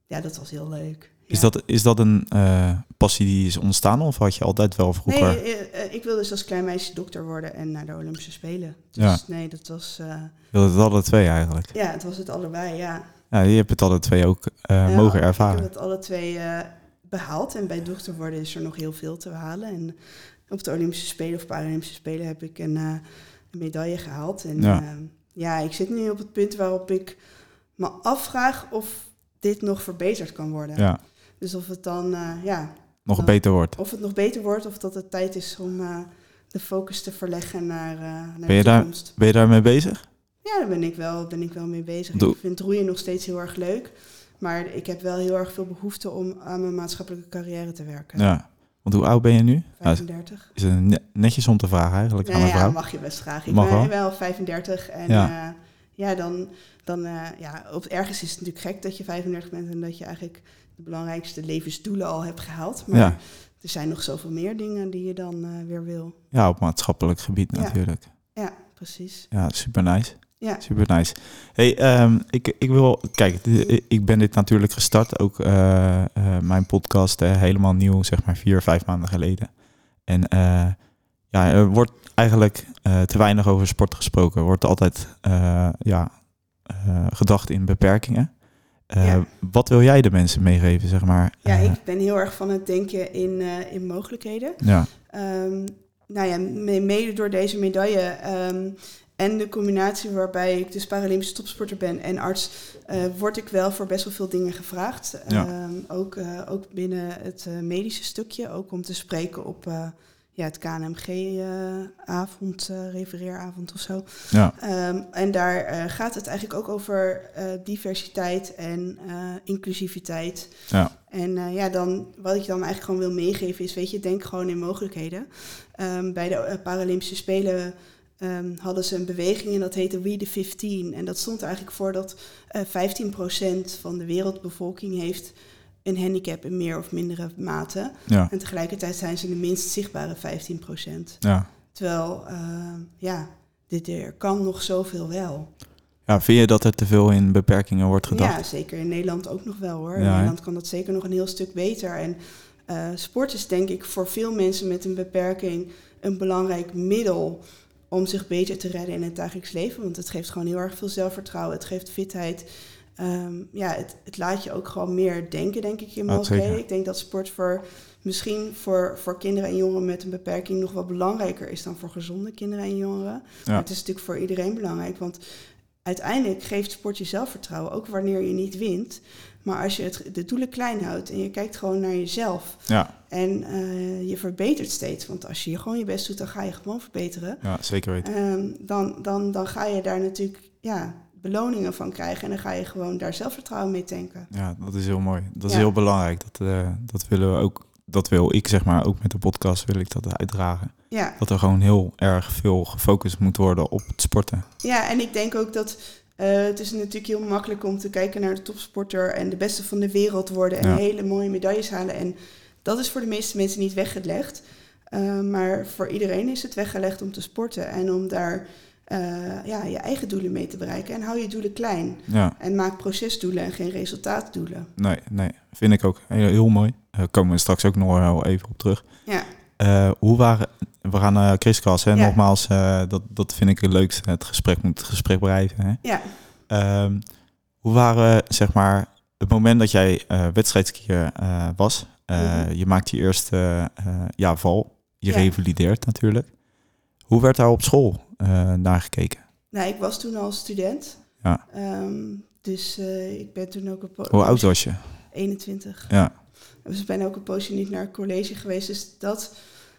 Speaker 4: Ja, dat was heel leuk.
Speaker 3: Is,
Speaker 4: Ja.
Speaker 3: dat, is dat een eh, passie die is ontstaan of had je altijd wel vroeger?
Speaker 4: Nee, eh, eh, ik wilde dus als klein meisje dokter worden en naar de Olympische Spelen. Dus
Speaker 3: Ja.
Speaker 4: nee, dat was... eh,
Speaker 3: Je wilde het alle twee eigenlijk.
Speaker 4: ja, het was het allebei, ja.
Speaker 3: Ja, je hebt het alle twee ook eh,
Speaker 4: Ja,
Speaker 3: mogen
Speaker 4: Ik
Speaker 3: ervaren.
Speaker 4: heb het alle twee eh, behaald. En bij dochter worden is er nog heel veel te behalen. En op de Olympische Spelen of Paralympische Spelen heb ik een, eh, een medaille gehaald. En
Speaker 3: Ja.
Speaker 4: ja. ja, ik zit nu op het punt waarop ik me afvraag of dit nog verbeterd kan worden.
Speaker 3: Ja,
Speaker 4: Dus of het dan, eh, ja,
Speaker 3: nog
Speaker 4: Ja.
Speaker 3: beter wordt.
Speaker 4: of het nog beter wordt of dat het tijd is om eh, de focus te verleggen naar, eh, naar
Speaker 3: je
Speaker 4: de
Speaker 3: daar-
Speaker 4: toekomst.
Speaker 3: Ben je daarmee bezig?
Speaker 4: Ja, daar ben ik wel, ben ik wel mee bezig.
Speaker 3: Doe-
Speaker 4: Ik vind roeien nog steeds heel erg leuk. Maar ik heb wel heel erg veel behoefte om aan mijn maatschappelijke carrière te werken.
Speaker 3: Ja. Want hoe oud ben je nu? Ja,
Speaker 4: 35.
Speaker 3: is het ne- netjes om te vragen eigenlijk aan
Speaker 4: nou
Speaker 3: een
Speaker 4: ja,
Speaker 3: vrouw?
Speaker 4: mag je best graag. Ik
Speaker 3: Mag
Speaker 4: ben
Speaker 3: wel.
Speaker 4: wel 35 en
Speaker 3: Ja.
Speaker 4: ja, ja dan, dan eh, ja, op, ergens is het natuurlijk gek dat je 35 bent en dat je eigenlijk de belangrijkste levensdoelen al hebt gehaald. Maar
Speaker 3: Ja.
Speaker 4: er zijn nog zoveel meer dingen die je dan eh, weer wil.
Speaker 3: Ja, op maatschappelijk gebied
Speaker 4: Ja.
Speaker 3: natuurlijk.
Speaker 4: Ja, precies.
Speaker 3: Ja, super nice.
Speaker 4: Ja.
Speaker 3: Super nice. Hey, ehm, ik, ik wil, kijk, d- ik ben dit natuurlijk gestart, ook eh, eh, mijn podcast, eh, helemaal nieuw, zeg maar vier, vijf maanden geleden. En eh, ja, er wordt eigenlijk eh, te weinig over sport gesproken. Er wordt altijd eh, ja, eh, gedacht in beperkingen. Eh,
Speaker 4: Ja.
Speaker 3: Wat wil jij de mensen meegeven, zeg maar?
Speaker 4: Ja,
Speaker 3: Eh,
Speaker 4: ik ben heel erg van het denken in, eh, in mogelijkheden.
Speaker 3: ja,
Speaker 4: Ehm, nou ja, me- mede door deze medaille ehm, en de combinatie waarbij ik dus Paralympische topsporter ben en arts, eh, word ik wel voor best wel veel dingen gevraagd.
Speaker 3: Ja.
Speaker 4: Ehm, ook, eh, ook binnen het eh, medische stukje, ook om te spreken op eh, ja, het KNMG-avond, eh, refereeravond of zo.
Speaker 3: ja,
Speaker 4: Ehm, en daar eh, gaat het eigenlijk ook over eh, diversiteit en eh, inclusiviteit.
Speaker 3: Ja.
Speaker 4: En eh, ja, dan, wat ik dan eigenlijk gewoon wil meegeven is, weet je, denk gewoon in mogelijkheden. Ehm, bij de eh, Paralympische Spelen ehm, hadden ze een beweging en dat heette We the 15. En dat stond er eigenlijk voor dat eh 15% van de wereldbevolking heeft een handicap in meer of mindere mate.
Speaker 3: Ja,
Speaker 4: En tegelijkertijd zijn ze de minst zichtbare 15%.
Speaker 3: ja.
Speaker 4: Terwijl, ehm, ja, dit, er kan nog zoveel wel.
Speaker 3: ja vind je dat er te veel in beperkingen wordt gedacht?
Speaker 4: Ja, zeker in Nederland ook nog wel hoor.
Speaker 3: Ja,
Speaker 4: in
Speaker 3: hè?
Speaker 4: Nederland kan dat zeker nog een heel stuk beter. En eh, sport is denk ik voor veel mensen met een beperking een belangrijk middel om zich beter te redden in het dagelijks leven. Want het geeft gewoon heel erg veel zelfvertrouwen. Het geeft fitheid. Ehm, ja, het, het laat je ook gewoon meer denken, denk ik, in
Speaker 3: Ja,
Speaker 4: mogelijkheden.
Speaker 3: zeker.
Speaker 4: Ik denk dat sport voor misschien voor, voor kinderen en jongeren met een beperking nog wel belangrijker is dan voor gezonde kinderen en jongeren. Maar het is natuurlijk voor iedereen belangrijk, want uiteindelijk geeft sport je zelfvertrouwen, ook wanneer je niet wint. Maar als je het, de doelen klein houdt en je kijkt gewoon naar jezelf
Speaker 3: Ja,
Speaker 4: en eh, je verbetert steeds, want als je gewoon je best doet, dan ga je gewoon verbeteren.
Speaker 3: ja zeker weten.
Speaker 4: Ehm, dan, dan, dan ga je daar natuurlijk ja, beloningen van krijgen en dan ga je gewoon daar zelfvertrouwen mee tanken.
Speaker 3: Ja, dat is heel mooi. Dat is
Speaker 4: Ja.
Speaker 3: heel belangrijk. Dat, eh, dat willen we ook. Dat wil ik zeg maar ook met de podcast wil ik dat uitdragen.
Speaker 4: Ja.
Speaker 3: Dat er gewoon heel erg veel gefocust moet worden op het sporten.
Speaker 4: Ja, en ik denk ook dat eh, het is natuurlijk heel makkelijk om te kijken naar de topsporter en de beste van de wereld worden en
Speaker 3: Ja.
Speaker 4: hele mooie medailles halen. En dat is voor de meeste mensen niet weggelegd. Eh, maar voor iedereen is het weggelegd om te sporten en om daar eh, ja, je eigen doelen mee te bereiken. En hou je doelen klein.
Speaker 3: Ja,
Speaker 4: En maak procesdoelen en geen resultaatdoelen.
Speaker 3: nee, nee. Vind ik ook heel, heel mooi. Daar komen we straks ook nog wel even op terug.
Speaker 4: Ja,
Speaker 3: Eh, hoe waren... We gaan naar Crisscross, hè?
Speaker 4: Ja.
Speaker 3: Nogmaals, eh, dat, dat vind ik het leukste. Het gesprek moet het gesprek blijven, hè?
Speaker 4: ja.
Speaker 3: Ehm, hoe waren, zeg maar, het moment dat jij eh wedstrijdskier eh, was? eh,
Speaker 4: Mhm.
Speaker 3: Je maakt je eerste eh, ja, val. Je
Speaker 4: Ja.
Speaker 3: revalideert natuurlijk. Hoe werd daar op school eh, naar gekeken?
Speaker 4: Nou, ik was toen al student.
Speaker 3: Ja.
Speaker 4: Ehm, dus eh, ik ben toen ook een po-
Speaker 3: Hoe oud was je?
Speaker 4: 21.
Speaker 3: Ja.
Speaker 4: Dus ik ben ook een poosje niet naar college geweest. Dus dat,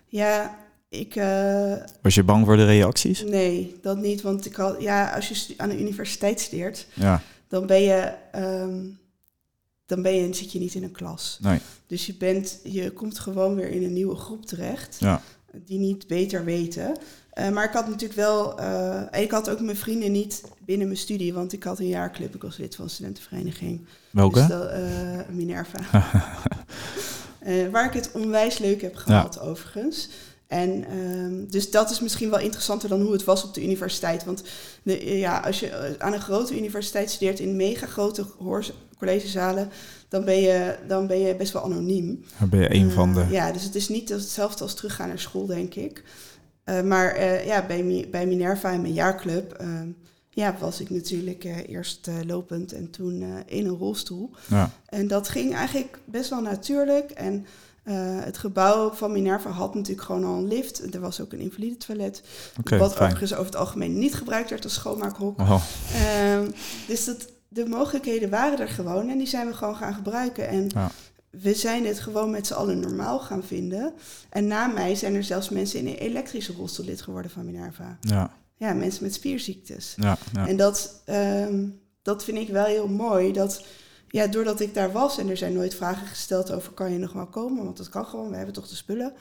Speaker 4: ja, ik, eh,
Speaker 3: Was je bang voor de reacties?
Speaker 4: nee, dat niet. Want ik had, ja, als je stu- aan de universiteit studeert,
Speaker 3: Ja,
Speaker 4: dan ben je, ehm, dan ben je, zit je niet in een klas.
Speaker 3: Nee.
Speaker 4: Dus je, bent, je komt gewoon weer in een nieuwe groep terecht,
Speaker 3: Ja.
Speaker 4: die niet beter weten. Eh, maar ik had natuurlijk wel, eh, en ik had ook mijn vrienden niet binnen mijn studie, want ik had een jaarclub, ik was lid van een studentenvereniging.
Speaker 3: welke?
Speaker 4: Dus dat, eh, Minerva. Eh, waar ik het onwijs leuk heb gehad, overigens. En ehm, dus dat is misschien wel interessanter dan hoe het was op de universiteit. Want de, eh, ja, als je eh, aan een grote universiteit studeert in mega grote hoors- collegezalen, dan ben, je, dan ben je best wel anoniem.
Speaker 3: Daar ben je een
Speaker 4: Eh,
Speaker 3: van de...
Speaker 4: Ja, dus het is niet hetzelfde als teruggaan naar school, denk ik. Eh, maar eh, ja, bij, Mi- bij Minerva en mijn jaarclub ehm, ja, was ik natuurlijk eh, eerst eh, lopend en toen eh, in een rolstoel.
Speaker 3: Ja.
Speaker 4: En dat ging eigenlijk best wel natuurlijk. En eh, het gebouw van Minerva had natuurlijk gewoon al een lift. Er was ook een invalide toilet.
Speaker 3: Oké,
Speaker 4: wat
Speaker 3: fijn.
Speaker 4: overigens over het algemeen niet gebruikt werd als schoonmaakhok.
Speaker 3: Oh,
Speaker 4: Ehm, dus dat, de mogelijkheden waren er gewoon en die zijn we gewoon gaan gebruiken. En
Speaker 3: Ja.
Speaker 4: we zijn het gewoon met z'n allen normaal gaan vinden. En na mij zijn er zelfs mensen in een elektrische rolstoel lid geworden van Minerva.
Speaker 3: ja,
Speaker 4: Ja, mensen met spierziektes.
Speaker 3: ja, ja.
Speaker 4: En dat, ehm, dat vind ik wel heel mooi. Dat, ja, doordat ik daar was en er zijn nooit vragen gesteld over kan je nog wel komen, want dat kan gewoon, we hebben toch de spullen,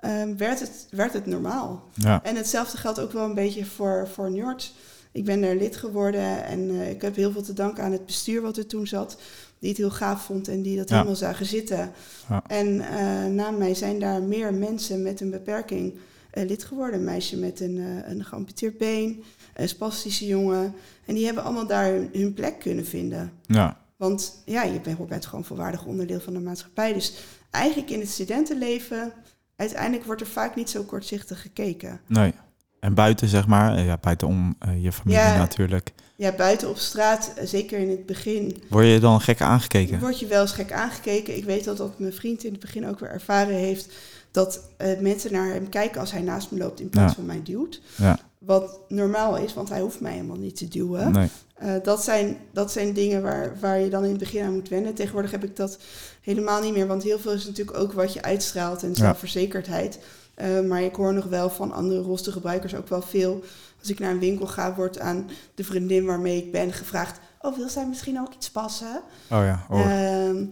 Speaker 4: ehm, werd, het, werd het normaal.
Speaker 3: ja.
Speaker 4: En hetzelfde geldt ook wel een beetje voor, voor Njord. Ik ben daar lid geworden en eh, ik heb heel veel te danken aan het bestuur wat er toen zat. Die het heel gaaf vond en die dat
Speaker 3: Ja.
Speaker 4: helemaal zagen zitten.
Speaker 3: Ja.
Speaker 4: En eh, na mij zijn daar meer mensen met een beperking eh, lid geworden. Een meisje met een, eh, een geamputeerd been, een spastische jongen. En die hebben allemaal daar hun, hun plek kunnen vinden.
Speaker 3: ja.
Speaker 4: Want ja, je bent, je bent gewoon volwaardig onderdeel van de maatschappij. Dus eigenlijk in het studentenleven, uiteindelijk wordt er vaak niet zo kortzichtig gekeken.
Speaker 3: Nee. En buiten, zeg maar, eh, ja, buiten om eh, je familie
Speaker 4: Ja.
Speaker 3: natuurlijk.
Speaker 4: Ja, buiten op straat, eh, zeker in het begin,
Speaker 3: Word je dan gek aangekeken?
Speaker 4: word je wel eens gek aangekeken. Ik weet dat dat mijn vriend in het begin ook weer ervaren heeft. Dat eh, mensen naar hem kijken als hij naast me loopt in plaats
Speaker 3: Ja.
Speaker 4: van mij duwt.
Speaker 3: Ja.
Speaker 4: Wat normaal is, want hij hoeft mij helemaal niet te duwen.
Speaker 3: Nee.
Speaker 4: Eh, dat, zijn, dat zijn dingen waar, waar je dan in het begin aan moet wennen. Tegenwoordig heb ik dat helemaal niet meer. Want heel veel is natuurlijk ook wat je uitstraalt en zelfverzekerdheid. Eh, maar ik hoor nog wel van andere rolstoelgebruikers ook wel veel. Als ik naar een winkel ga, wordt aan de vriendin waarmee ik ben gevraagd... Oh, wil zij misschien ook iets passen?
Speaker 3: Oh ja, oh.
Speaker 4: Ehm,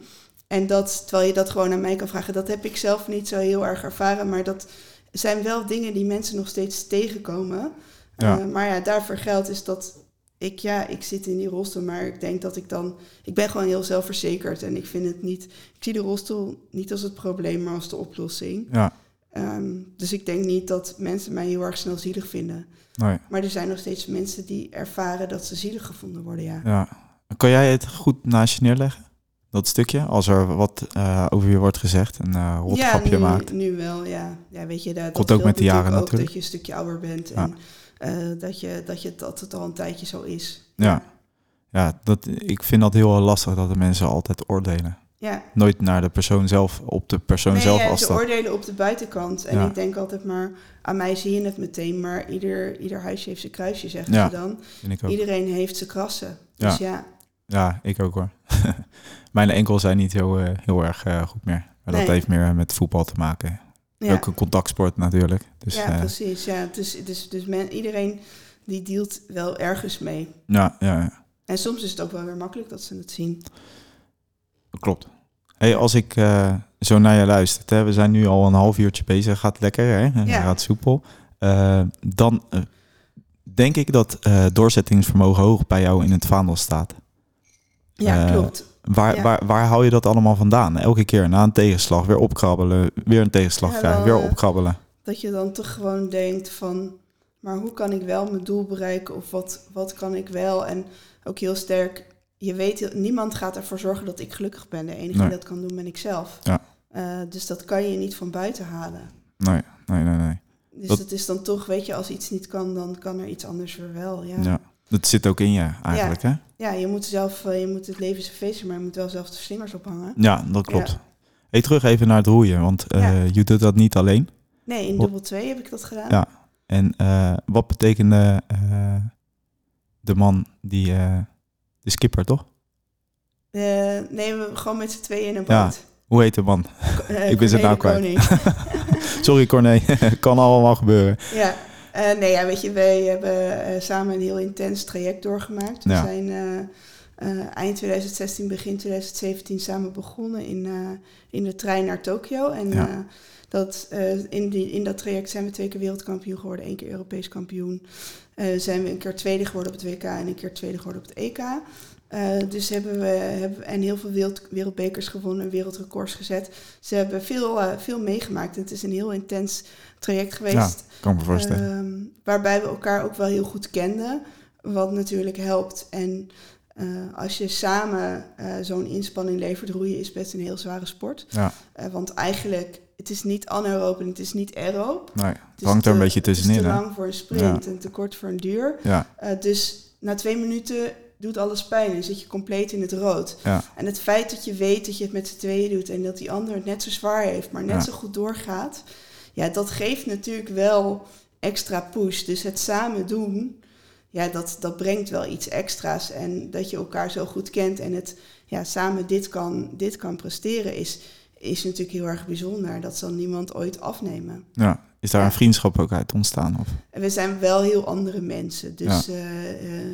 Speaker 4: en dat, terwijl je dat gewoon aan mij kan vragen, dat heb ik zelf niet zo heel erg ervaren. Maar dat zijn wel dingen die mensen nog steeds tegenkomen.
Speaker 3: Ja.
Speaker 4: Eh, maar ja, daarvoor geldt is dat ik, ja, ik zit in die rolstoel, maar ik denk dat ik dan, ik ben gewoon heel zelfverzekerd en ik vind het niet, ik zie de rolstoel niet als het probleem, maar als de oplossing.
Speaker 3: Ja,
Speaker 4: Ehm, dus ik denk niet dat mensen mij heel erg snel zielig vinden.
Speaker 3: nee.
Speaker 4: Maar er zijn nog steeds mensen die ervaren dat ze zielig gevonden worden, ja.
Speaker 3: Ja. Kan jij het goed naast je neerleggen? Dat stukje, als er wat eh, over je wordt gezegd, een eh rot grapje
Speaker 4: nu,
Speaker 3: maakt.
Speaker 4: nu wel, ja. ja weet je, dat,
Speaker 3: Komt
Speaker 4: dat
Speaker 3: ook
Speaker 4: wil
Speaker 3: met de jaren natuurlijk.
Speaker 4: Ook, dat je een stukje ouder bent
Speaker 3: Ja.
Speaker 4: en eh, dat, je, dat, je, dat het al een tijdje zo is.
Speaker 3: Ja. Ja, dat, ik vind dat heel lastig dat de mensen altijd oordelen.
Speaker 4: Ja.
Speaker 3: Nooit naar de persoon zelf, op de persoon
Speaker 4: Nee,
Speaker 3: zelf
Speaker 4: ja,
Speaker 3: als
Speaker 4: ze
Speaker 3: dat.
Speaker 4: oordelen op de buitenkant. En
Speaker 3: Ja.
Speaker 4: ik denk altijd maar, aan mij zie je het meteen, maar ieder, ieder huisje heeft zijn kruisje, zeggen
Speaker 3: Ja.
Speaker 4: ze dan.
Speaker 3: Vind ik ook.
Speaker 4: Iedereen heeft zijn krassen.
Speaker 3: Ja.
Speaker 4: Dus ja,
Speaker 3: Ja, ik ook hoor. Mijn enkels zijn niet heel, eh, heel erg eh, goed meer. Maar dat
Speaker 4: Nee.
Speaker 3: heeft meer eh, met voetbal te maken.
Speaker 4: ja.
Speaker 3: Ook een contactsport natuurlijk. Dus
Speaker 4: ja
Speaker 3: eh,
Speaker 4: precies. Ja. Dus, dus, dus men, iedereen die dealt wel ergens mee.
Speaker 3: ja, ja, ja.
Speaker 4: En soms is het ook wel weer makkelijk dat ze het zien.
Speaker 3: Klopt. Hey, als ik eh, zo naar je luister, hè, we zijn nu al een half uurtje bezig, gaat lekker, hè?
Speaker 4: Ja.
Speaker 3: gaat soepel. Eh, dan eh, denk ik dat eh, doorzettingsvermogen hoog bij jou in het vaandel staat.
Speaker 4: Ja,
Speaker 3: Eh,
Speaker 4: klopt.
Speaker 3: Waar,
Speaker 4: Ja.
Speaker 3: waar, waar hou je dat allemaal vandaan? Elke keer na een tegenslag weer opkrabbelen, weer een tegenslag
Speaker 4: Ja,
Speaker 3: krijgen,
Speaker 4: wel,
Speaker 3: weer
Speaker 4: eh,
Speaker 3: opkrabbelen.
Speaker 4: Dat je dan toch gewoon denkt van, maar hoe kan ik wel mijn doel bereiken of wat, wat kan ik wel? En ook heel sterk, je weet, heel- niemand gaat ervoor zorgen dat ik gelukkig ben. De enige
Speaker 3: Nee.
Speaker 4: die dat kan doen ben ik zelf.
Speaker 3: Ja.
Speaker 4: Eh, dus dat kan je niet van buiten halen.
Speaker 3: Nee, nee, nee, nee.
Speaker 4: Dus
Speaker 3: Dat-
Speaker 4: het is dan toch, weet je, als iets niet kan, dan kan er iets anders weer wel. Ja,
Speaker 3: Ja.
Speaker 4: ja.
Speaker 3: Dat zit ook in je eigenlijk, hè?
Speaker 4: je moet zelf, eh, je moet het leven is een feestje, maar je moet wel zelf de slingers ophangen.
Speaker 3: Ja, dat klopt.
Speaker 4: Ja.
Speaker 3: Hey, terug even naar het roeien, want eh,
Speaker 4: Ja.
Speaker 3: je doet dat niet alleen.
Speaker 4: Nee, in
Speaker 3: Wat-
Speaker 4: dubbel 2 heb ik dat gedaan.
Speaker 3: Ja. En eh, wat betekende eh, de man die... eh, de skipper, toch?
Speaker 4: Eh, nee, we gewoon met z'n tweeën in een
Speaker 3: Ja.
Speaker 4: boot.
Speaker 3: Hoe heet de man?
Speaker 4: Eh,
Speaker 3: Ik ben zijn naam
Speaker 4: Corné de
Speaker 3: kwijt.
Speaker 4: Koning.
Speaker 3: Sorry Corné, kan allemaal gebeuren.
Speaker 4: Ja, Eh, nee, ja, weet je, wij hebben eh, samen een heel intens traject doorgemaakt. We
Speaker 3: Ja.
Speaker 4: zijn eh, eh, eind 2016, begin 2017 samen begonnen in, eh, in de trein naar Tokio. En
Speaker 3: Ja.
Speaker 4: eh, dat, eh, in, die, in dat traject zijn we twee keer wereldkampioen geworden, één keer Europees kampioen. Eh, zijn we een keer tweede geworden op het WK en een keer tweede geworden op het EK. Eh, dus hebben we hebben, we- en heel veel wereld, wereldbekers gewonnen, wereldrecords gezet. Ze hebben veel, eh, veel meegemaakt. Het is een heel intens traject geweest.
Speaker 3: Ja. Kan me voorstellen.
Speaker 4: Ehm, waarbij we elkaar ook wel heel goed kenden, wat natuurlijk helpt. En eh, als je samen eh, zo'n inspanning levert, roeien is best een heel zware sport.
Speaker 3: Ja.
Speaker 4: Eh, want eigenlijk, het is niet anaeroop en het is niet aeroop.
Speaker 3: nee, het
Speaker 4: Het is
Speaker 3: hangt er een
Speaker 4: te-
Speaker 3: beetje
Speaker 4: Het
Speaker 3: tussenin,
Speaker 4: is te
Speaker 3: hè?
Speaker 4: lang voor een sprint en te kort voor een duur.
Speaker 3: Ja,
Speaker 4: Eh, dus na twee minuten doet alles pijn en zit je compleet in het rood.
Speaker 3: Ja.
Speaker 4: En het feit dat je weet dat je het met z'n tweeën doet en dat die ander het net zo zwaar heeft, maar net
Speaker 3: Ja.
Speaker 4: zo goed doorgaat, ja, dat geeft natuurlijk wel extra push. Dus het samen doen, ja, dat, dat brengt wel iets extra's. En dat je elkaar zo goed kent en het ja, samen dit kan, dit kan presteren, is, is natuurlijk heel erg bijzonder. Dat zal niemand ooit afnemen.
Speaker 3: ja. Is daar
Speaker 4: Ja.
Speaker 3: een vriendschap ook uit ontstaan? Of?
Speaker 4: En we zijn wel heel andere mensen. Dus ja.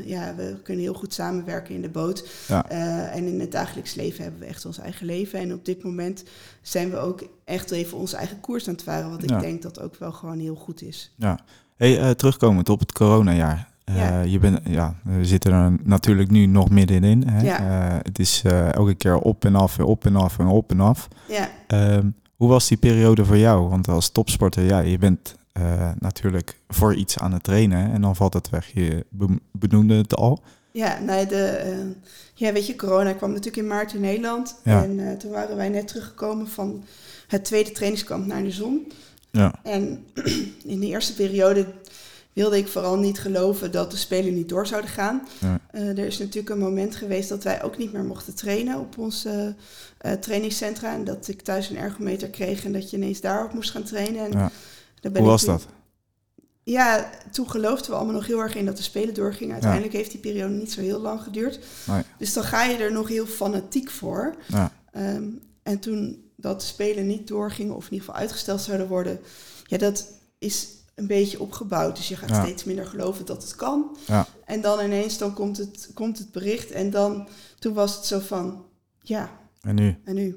Speaker 4: ja, we kunnen heel goed samenwerken in de boot.
Speaker 3: Ja.
Speaker 4: Eh, en in het dagelijks leven hebben we echt ons eigen leven. En op dit moment zijn we ook echt even onze eigen koers aan het varen. Wat ik
Speaker 3: Ja.
Speaker 4: denk dat ook wel gewoon heel goed is.
Speaker 3: Hey, eh, terugkomend op het coronajaar. Eh,
Speaker 4: Ja.
Speaker 3: je bent, ja, we zitten er natuurlijk nu nog middenin. Hè?
Speaker 4: Ja.
Speaker 3: Eh, het is eh, elke keer op en af en op en af en op en af.
Speaker 4: Ja,
Speaker 3: Ehm, hoe was die periode voor jou? Want als topsporter, ja, je bent eh, natuurlijk voor iets aan het trainen en dan valt het weg. Je be- benoemde het al.
Speaker 4: ja, nou, de, eh, ja, weet je, corona kwam natuurlijk in maart in Nederland.
Speaker 3: Ja.
Speaker 4: En eh, toen waren wij net teruggekomen van het tweede trainingskamp naar de zon.
Speaker 3: Ja,
Speaker 4: En in de eerste periode wilde ik vooral niet geloven dat de Spelen niet door zouden gaan.
Speaker 3: Ja.
Speaker 4: Eh, er is natuurlijk een moment geweest dat wij ook niet meer mochten trainen op onze eh, eh, trainingscentra. En dat ik thuis een ergometer kreeg en dat je ineens daarop moest gaan trainen. En
Speaker 3: Ja.
Speaker 4: daar
Speaker 3: hoe
Speaker 4: ben ik
Speaker 3: was
Speaker 4: toen-
Speaker 3: dat?
Speaker 4: Ja, toen geloofden we allemaal nog heel erg in dat de Spelen doorgingen. Uiteindelijk heeft die periode niet zo heel lang geduurd.
Speaker 3: Nee.
Speaker 4: Dus dan ga je er nog heel fanatiek voor.
Speaker 3: Ja.
Speaker 4: Ehm, en toen dat de Spelen niet doorgingen, of in ieder geval uitgesteld zouden worden, ja, dat is een beetje opgebouwd. Dus je gaat
Speaker 3: Ja.
Speaker 4: steeds minder geloven dat het kan.
Speaker 3: Ja.
Speaker 4: En dan ineens dan komt, het, komt het bericht. En dan, toen was het zo van, ja,
Speaker 3: En nu?
Speaker 4: en nu?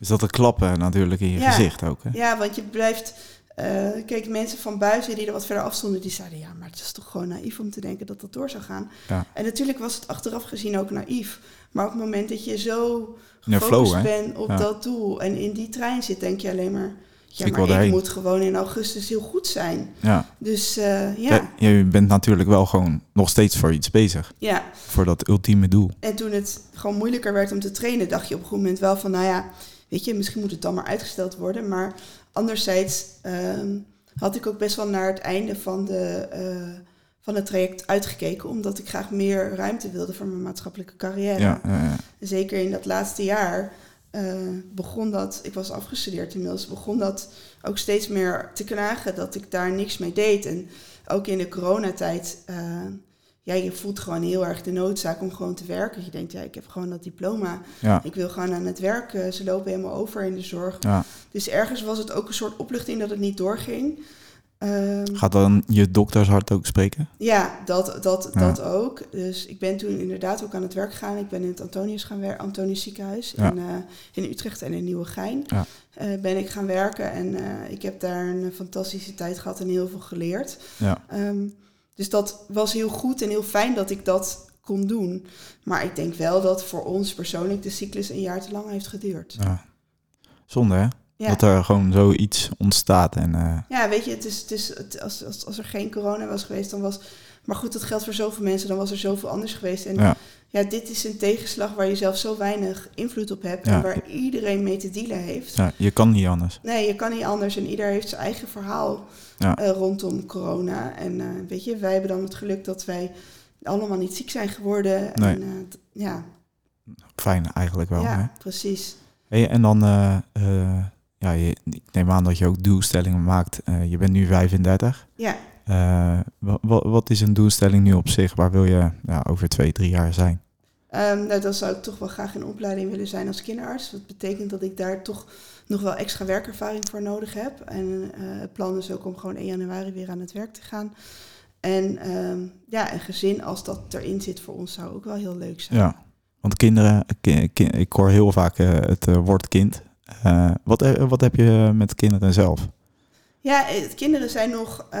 Speaker 3: Is dat een klappen natuurlijk in je
Speaker 4: Ja.
Speaker 3: gezicht ook? Hè?
Speaker 4: Ja, want je blijft, eh, eh, keken mensen van buiten die er wat verder afstonden, die zeiden ja, maar het is toch gewoon naïef om te denken dat dat door zou gaan.
Speaker 3: Ja.
Speaker 4: En natuurlijk was het achteraf gezien ook naïef. Maar op het moment dat je zo
Speaker 3: In de
Speaker 4: gefocust
Speaker 3: flow, hè?
Speaker 4: bent op
Speaker 3: Ja.
Speaker 4: dat doel en in die trein zit, denk je alleen maar,
Speaker 3: Ik
Speaker 4: ja,
Speaker 3: wil
Speaker 4: maar ik
Speaker 3: daarheen.
Speaker 4: moet gewoon in augustus heel goed zijn.
Speaker 3: Ja.
Speaker 4: Dus eh, ja,
Speaker 3: Ja, Je bent natuurlijk wel gewoon nog steeds voor iets bezig.
Speaker 4: ja.
Speaker 3: Voor dat ultieme doel.
Speaker 4: En toen het gewoon moeilijker werd om te trainen, dacht je op een goed moment wel van, nou ja, weet je, misschien moet het dan maar uitgesteld worden. Maar anderzijds ehm, had ik ook best wel naar het einde van, de, eh, van het traject uitgekeken, omdat ik graag meer ruimte wilde voor mijn maatschappelijke carrière.
Speaker 3: Ja, ja, ja.
Speaker 4: Zeker in dat laatste jaar eh, begon dat, ik was afgestudeerd inmiddels, begon dat ook steeds meer te knagen dat ik daar niks mee deed. En ook in de coronatijd, eh, ja, je voelt gewoon heel erg de noodzaak om gewoon te werken. Je denkt, ja, ik heb gewoon dat diploma.
Speaker 3: ja.
Speaker 4: Ik wil gewoon aan het werk. Eh, Ze lopen helemaal over in de zorg.
Speaker 3: Ja.
Speaker 4: Dus ergens was het ook een soort opluchting dat het niet doorging. Ehm,
Speaker 3: Gaat dan je doktershart ook spreken?
Speaker 4: ja, dat, dat,
Speaker 3: Ja.
Speaker 4: dat ook. Dus ik ben toen inderdaad ook aan het werk gegaan. Ik ben in het Antonius, gaan wer- Antonius ziekenhuis
Speaker 3: Ja.
Speaker 4: in, eh, in Utrecht en in Nieuwegein.
Speaker 3: Ja.
Speaker 4: Eh, ben ik gaan werken en eh, ik heb daar een fantastische tijd gehad en heel veel geleerd.
Speaker 3: Ja.
Speaker 4: Ehm, dus dat was heel goed en heel fijn dat ik dat kon doen. Maar ik denk wel dat voor ons persoonlijk de cyclus een jaar te lang heeft geduurd.
Speaker 3: ja. Zonde, hè?
Speaker 4: Ja.
Speaker 3: Dat er gewoon zoiets ontstaat. En, eh,
Speaker 4: Ja, weet je, het is, het is, het, als, als, als er geen corona was geweest, dan was... Maar goed, dat geldt voor zoveel mensen, dan was er zoveel anders geweest. En
Speaker 3: Ja.
Speaker 4: ja, dit is een tegenslag waar je zelf zo weinig invloed op hebt...
Speaker 3: Ja.
Speaker 4: en waar iedereen mee te dealen heeft.
Speaker 3: ja, je kan niet anders.
Speaker 4: Nee, je kan niet anders en ieder heeft zijn eigen verhaal
Speaker 3: Ja.
Speaker 4: eh, rondom corona. En eh, weet je, wij hebben dan het geluk dat wij allemaal niet ziek zijn geworden.
Speaker 3: Nee.
Speaker 4: En, eh, d- ja,
Speaker 3: Fijn eigenlijk wel. Hè?
Speaker 4: ja precies.
Speaker 3: Hey, en dan, eh, eh, ja, je, ik neem aan dat je ook doelstellingen maakt. Eh, je bent nu 35.
Speaker 4: Ja.
Speaker 3: Eh, wa- wa- wat is een doelstelling nu op zich? Waar wil je ja, over twee, drie jaar zijn?
Speaker 4: Ehm, nou, dan zou ik toch wel graag in opleiding willen zijn als kinderarts. Dat betekent dat ik daar toch nog wel extra werkervaring voor nodig heb. En eh, het plan is ook om gewoon 1 januari weer aan het werk te gaan. En ehm, ja, een gezin als dat erin zit voor ons zou ook wel heel leuk zijn.
Speaker 3: Ja, want kinderen, eh, ki- ki- ik hoor heel vaak eh, het eh, woord kind. Eh, wat, eh, wat heb je met kinderen zelf?
Speaker 4: Ja, eh, kinderen zijn nog eh,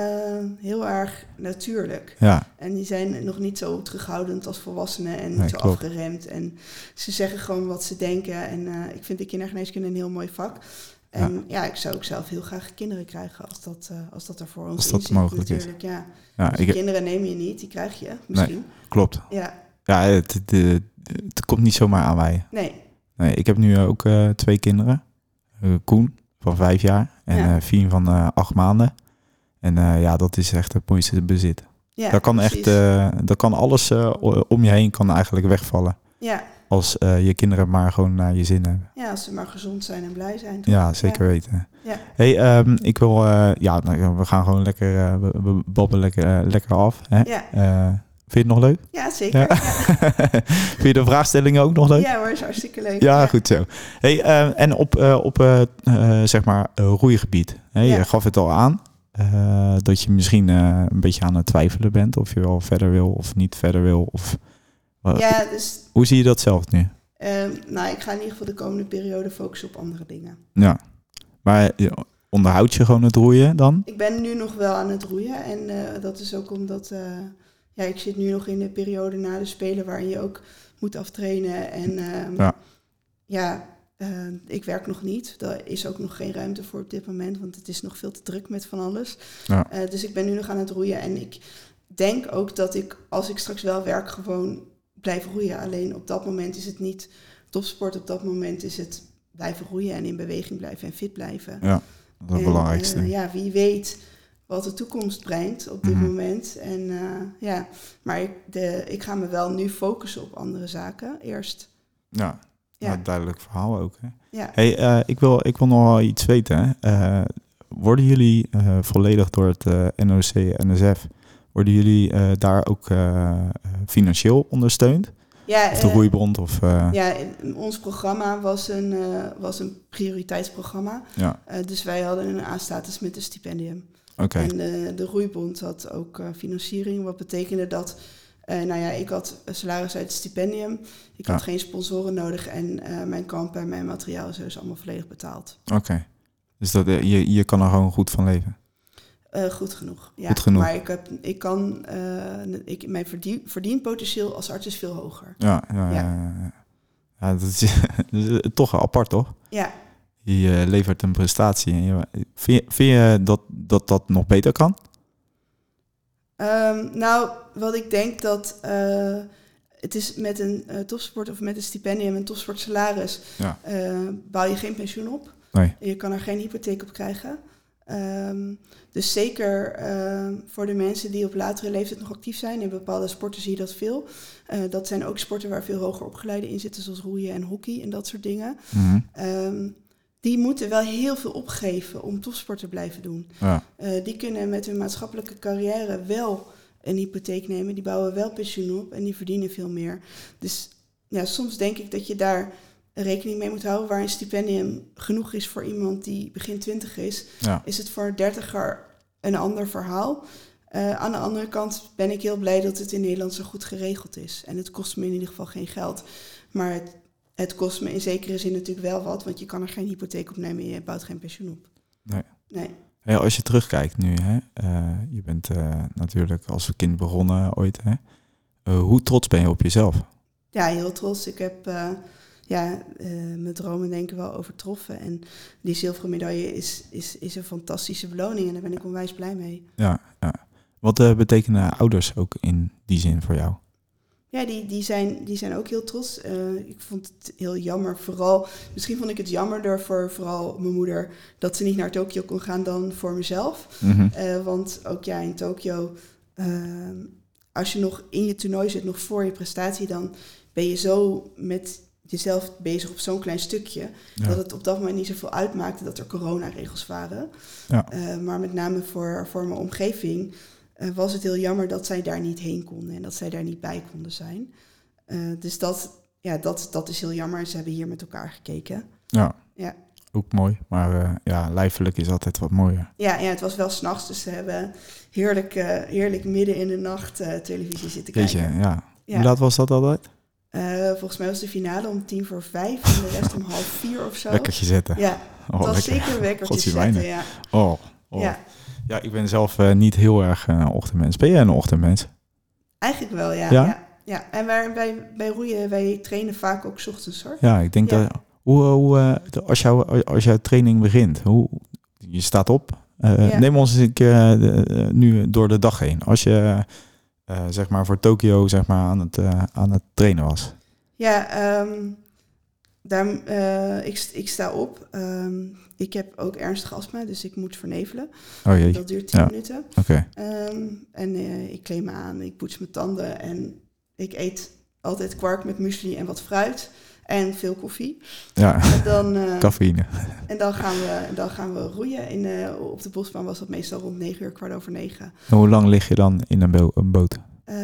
Speaker 4: heel erg natuurlijk.
Speaker 3: Ja,
Speaker 4: En die zijn nog niet zo terughoudend als volwassenen en
Speaker 3: Nee,
Speaker 4: zo
Speaker 3: klopt.
Speaker 4: afgeremd. En ze zeggen gewoon wat ze denken. En eh, ik vind de kindergeneeskunde een heel mooi vak. En ja. ik zou ook zelf heel graag kinderen krijgen als dat, eh, als dat er voor ons
Speaker 3: Als
Speaker 4: in
Speaker 3: dat
Speaker 4: zit,
Speaker 3: mogelijk is.
Speaker 4: natuurlijk. Ja.
Speaker 3: ja
Speaker 4: Dus
Speaker 3: ik,
Speaker 4: kinderen neem je niet, die krijg je misschien.
Speaker 3: klopt.
Speaker 4: Ja,
Speaker 3: Ja, het, het, eh, het komt niet zomaar aan mij.
Speaker 4: nee.
Speaker 3: Nee, ik heb nu ook eh, twee kinderen. Eh, Koen van vijf jaar en eh
Speaker 4: Ja.
Speaker 3: Fien van eh, acht maanden. En eh, ja, dat is echt het mooiste bezit.
Speaker 4: Ja,
Speaker 3: daar kan echt,
Speaker 4: precies.
Speaker 3: eh daar kan alles eh, o- om je heen kan eigenlijk wegvallen.
Speaker 4: ja.
Speaker 3: Als eh, je kinderen maar gewoon naar je zin hebben.
Speaker 4: ja, als ze maar gezond zijn en blij zijn. toch?
Speaker 3: Ja, zeker weten.
Speaker 4: Ja.
Speaker 3: Hey, ehm, ik wil, eh, ja, nou, we gaan gewoon lekker, eh, we, we babbelen lekker, eh, lekker af. Hè?
Speaker 4: Ja,
Speaker 3: Eh, vind je het nog leuk?
Speaker 4: ja zeker.
Speaker 3: Ja.
Speaker 4: Ja.
Speaker 3: vind je de vraagstellingen ook nog leuk?
Speaker 4: hoor, is hartstikke leuk.
Speaker 3: Ja, goed zo. Hey, eh, en op, eh, op eh, eh, zeg maar eh, roeigebied. Hey,
Speaker 4: Ja.
Speaker 3: Je gaf het al aan eh, dat je misschien eh, een beetje aan het twijfelen bent of je wel verder wil of niet verder wil. Of, eh,
Speaker 4: Ja, dus
Speaker 3: Hoe zie je dat zelf nu?
Speaker 4: ehm, nou, ik ga in ieder geval de komende periode focussen op andere dingen.
Speaker 3: Ja. Maar eh, onderhoud je gewoon het roeien dan?
Speaker 4: Ik ben nu nog wel aan het roeien. En eh, dat is ook omdat eh, ja, ik zit nu nog in de periode na de Spelen waarin je ook moet aftrainen. En ehm,
Speaker 3: Ja.
Speaker 4: ja, eh, ik werk nog niet. Daar is ook nog geen ruimte voor op dit moment, want het is nog veel te druk met van alles.
Speaker 3: Ja.
Speaker 4: Eh, dus ik ben nu nog aan het roeien. En ik denk ook dat ik, als ik straks wel werk, gewoon blijf roeien. Alleen op dat moment is het niet topsport. Op dat moment is het blijven roeien en in beweging blijven en fit blijven.
Speaker 3: Dat is het
Speaker 4: En,
Speaker 3: belangrijkste.
Speaker 4: eh, ja, wie weet wat de toekomst brengt op dit
Speaker 3: Mhm.
Speaker 4: moment. En eh, ja, maar ik, de, ik ga me wel nu focussen op andere zaken eerst.
Speaker 3: ja.
Speaker 4: Ja.
Speaker 3: Nou, duidelijk verhaal ook. Hè?
Speaker 4: Ja.
Speaker 3: Hey, eh, ik, wil, ik wil nog wel iets weten. hè. Eh, worden jullie eh, volledig door het eh, NOC, NSF, worden jullie eh, daar ook eh, financieel ondersteund?
Speaker 4: Ja,
Speaker 3: Of de
Speaker 4: eh,
Speaker 3: roeibond? Of, eh, ja.
Speaker 4: ja, in- ons programma was een, eh, was een prioriteitsprogramma. Eh, dus wij hadden een A-status met een stipendium.
Speaker 3: Oké,
Speaker 4: En eh, de Roeibond had ook eh, financiering. Wat betekende dat, eh, nou ja, ik had een salaris uit het stipendium. Ik had
Speaker 3: Ja.
Speaker 4: geen sponsoren nodig. En eh, mijn kamp en mijn materiaal en zo is allemaal volledig dus betaald.
Speaker 3: oké. Dus dat, eh, je, je kan er gewoon goed van leven.
Speaker 4: Eh, goed genoeg. Ja.
Speaker 3: Goed genoeg.
Speaker 4: Maar ik, heb, ik kan, eh, ik, mijn verdien, verdienpotentieel als arts is veel hoger.
Speaker 3: Ja, ja, ja.
Speaker 4: Ja.
Speaker 3: ja, ja. Ja, dat, is, dat is eh, toch apart, toch?
Speaker 4: Ja,
Speaker 3: Je eh, levert een prestatie. En je, vind, je, vind je dat dat, dat nog beter kan?
Speaker 4: Ehm, nou, wat ik denk dat eh, het is met een eh, topsport of met een stipendium, een topsportsalaris,
Speaker 3: Ja.
Speaker 4: eh, bouw je geen pensioen op.
Speaker 3: Nee.
Speaker 4: Je kan er geen hypotheek op krijgen. Ehm, dus zeker ehm, voor de mensen die op latere leeftijd nog actief zijn, in bepaalde sporten zie je dat veel. Eh, dat zijn ook sporten waar veel hoger opgeleiden in zitten, zoals roeien en hockey en dat soort dingen.
Speaker 3: Mhm.
Speaker 4: Ehm, die moeten wel heel veel opgeven om topsport te blijven doen.
Speaker 3: Ja.
Speaker 4: Eh, die kunnen met hun maatschappelijke carrière wel een hypotheek nemen. Die bouwen wel pensioen op en die verdienen veel meer. Dus ja, soms denk ik dat je daar rekening mee moet houden. Waar een stipendium genoeg is voor iemand die begin twintig is,
Speaker 3: Ja.
Speaker 4: is het voor een dertiger een ander verhaal. Eh, aan de andere kant ben ik heel blij dat het in Nederland zo goed geregeld is. En het kost me in ieder geval geen geld. Maar het, het kost me in zekere zin natuurlijk wel wat, want je kan er geen hypotheek op nemen en je bouwt geen pensioen op.
Speaker 3: Nee.
Speaker 4: Nee.
Speaker 3: Ja, als je terugkijkt nu, hè, eh, je bent eh, natuurlijk als kind begonnen ooit. Hè, Eh, hoe trots ben je op jezelf?
Speaker 4: Ja, heel trots. Ik heb eh, ja, eh, mijn dromen denk ik wel overtroffen. En die zilveren medaille is, is, is een fantastische beloning en daar ben ik onwijs blij mee.
Speaker 3: Ja, ja. Wat eh, betekenen ouders ook in die zin voor jou?
Speaker 4: Ja, die, die, zijn, die zijn ook heel trots. Eh, ik vond het heel jammer. Vooral, misschien vond ik het jammerder voor vooral mijn moeder dat ze niet naar Tokio kon gaan dan voor mezelf.
Speaker 3: Mhm.
Speaker 4: Eh, want ook ja, in Tokio, ehm, als je nog in je toernooi zit, nog voor je prestatie, dan ben je zo met jezelf bezig op zo'n klein stukje.
Speaker 3: Ja.
Speaker 4: Dat het op dat moment niet zoveel uitmaakte dat er coronaregels waren.
Speaker 3: Ja.
Speaker 4: Eh, maar met name voor, voor mijn omgeving eh, was het heel jammer dat zij daar niet heen konden en dat zij daar niet bij konden zijn. Eh, dus dat, ja, dat, dat is heel jammer. Ze hebben hier met elkaar gekeken.
Speaker 3: Ja.
Speaker 4: Ja.
Speaker 3: Ook mooi, maar eh, ja, lijfelijk is altijd wat mooier.
Speaker 4: Ja, ja het was wel s'nachts, dus ze hebben heerlijk, eh, heerlijk midden in de nacht eh, televisie zitten
Speaker 3: Weet
Speaker 4: kijken.
Speaker 3: je, ja.
Speaker 4: Ja.
Speaker 3: Hoe laat was dat altijd?
Speaker 4: Eh, volgens mij was de finale om tien voor vijf en de rest om half vier of zo.
Speaker 3: Lekkertje zetten.
Speaker 4: Ja,
Speaker 3: Oh,
Speaker 4: dat was
Speaker 3: lekker.
Speaker 4: zeker wekkertjes
Speaker 3: Godzie mijne.
Speaker 4: zetten, ja.
Speaker 3: Oh, oh. Ja.
Speaker 4: ja.
Speaker 3: ik ben zelf eh, niet heel erg een ochtendmens. Ben jij een ochtendmens?
Speaker 4: Eigenlijk wel, ja.
Speaker 3: Ja?
Speaker 4: Ja, ja. en wij, wij, wij roeien, wij trainen vaak ook 's ochtends hoor.
Speaker 3: Ja, ik denk
Speaker 4: Ja.
Speaker 3: dat... Hoe, hoe, eh, de- als, jouw als jouw training begint, hoe, je staat op. Eh,
Speaker 4: Ja.
Speaker 3: Neem ons eens een keer eh, de- eh, nu door de dag heen. Als je eh, zeg maar voor Tokio zeg maar, aan, het, eh, aan het trainen was.
Speaker 4: Ja, ehm, daar, eh, ik, st- ik sta op. Ehm, ik heb ook ernstig astma, dus ik moet vernevelen.
Speaker 3: Oh jee,
Speaker 4: Dat duurt 10
Speaker 3: Ja.
Speaker 4: minuten.
Speaker 3: oké.
Speaker 4: Ehm, en eh, ik kleed me aan, ik poets mijn tanden en ik eet altijd kwark met muesli en wat fruit. En veel koffie.
Speaker 3: Ja,
Speaker 4: En dan, eh,
Speaker 3: cafeïne.
Speaker 4: en dan, gaan, we, dan gaan we roeien. In, eh, op de bosbaan was dat meestal rond 9 uur, kwart over 9.
Speaker 3: En hoe lang lig je dan in een, bo- een boot?
Speaker 4: Eh,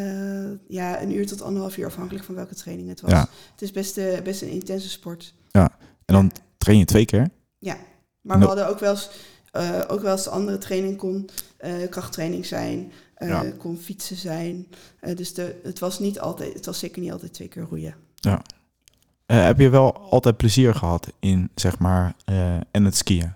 Speaker 4: ja, een uur tot anderhalf uur afhankelijk van welke training het was.
Speaker 3: Ja.
Speaker 4: Het is best, eh, best een intense sport.
Speaker 3: En dan train je twee keer?
Speaker 4: Maar
Speaker 3: No.
Speaker 4: we hadden ook wel eens, eh, ook wel eens andere training kon eh, krachttraining zijn, eh,
Speaker 3: Ja.
Speaker 4: kon fietsen zijn. Eh, dus de, het was niet altijd, het was zeker niet altijd twee keer roeien.
Speaker 3: Eh, heb je wel altijd plezier gehad in, zeg maar, eh, en het skiën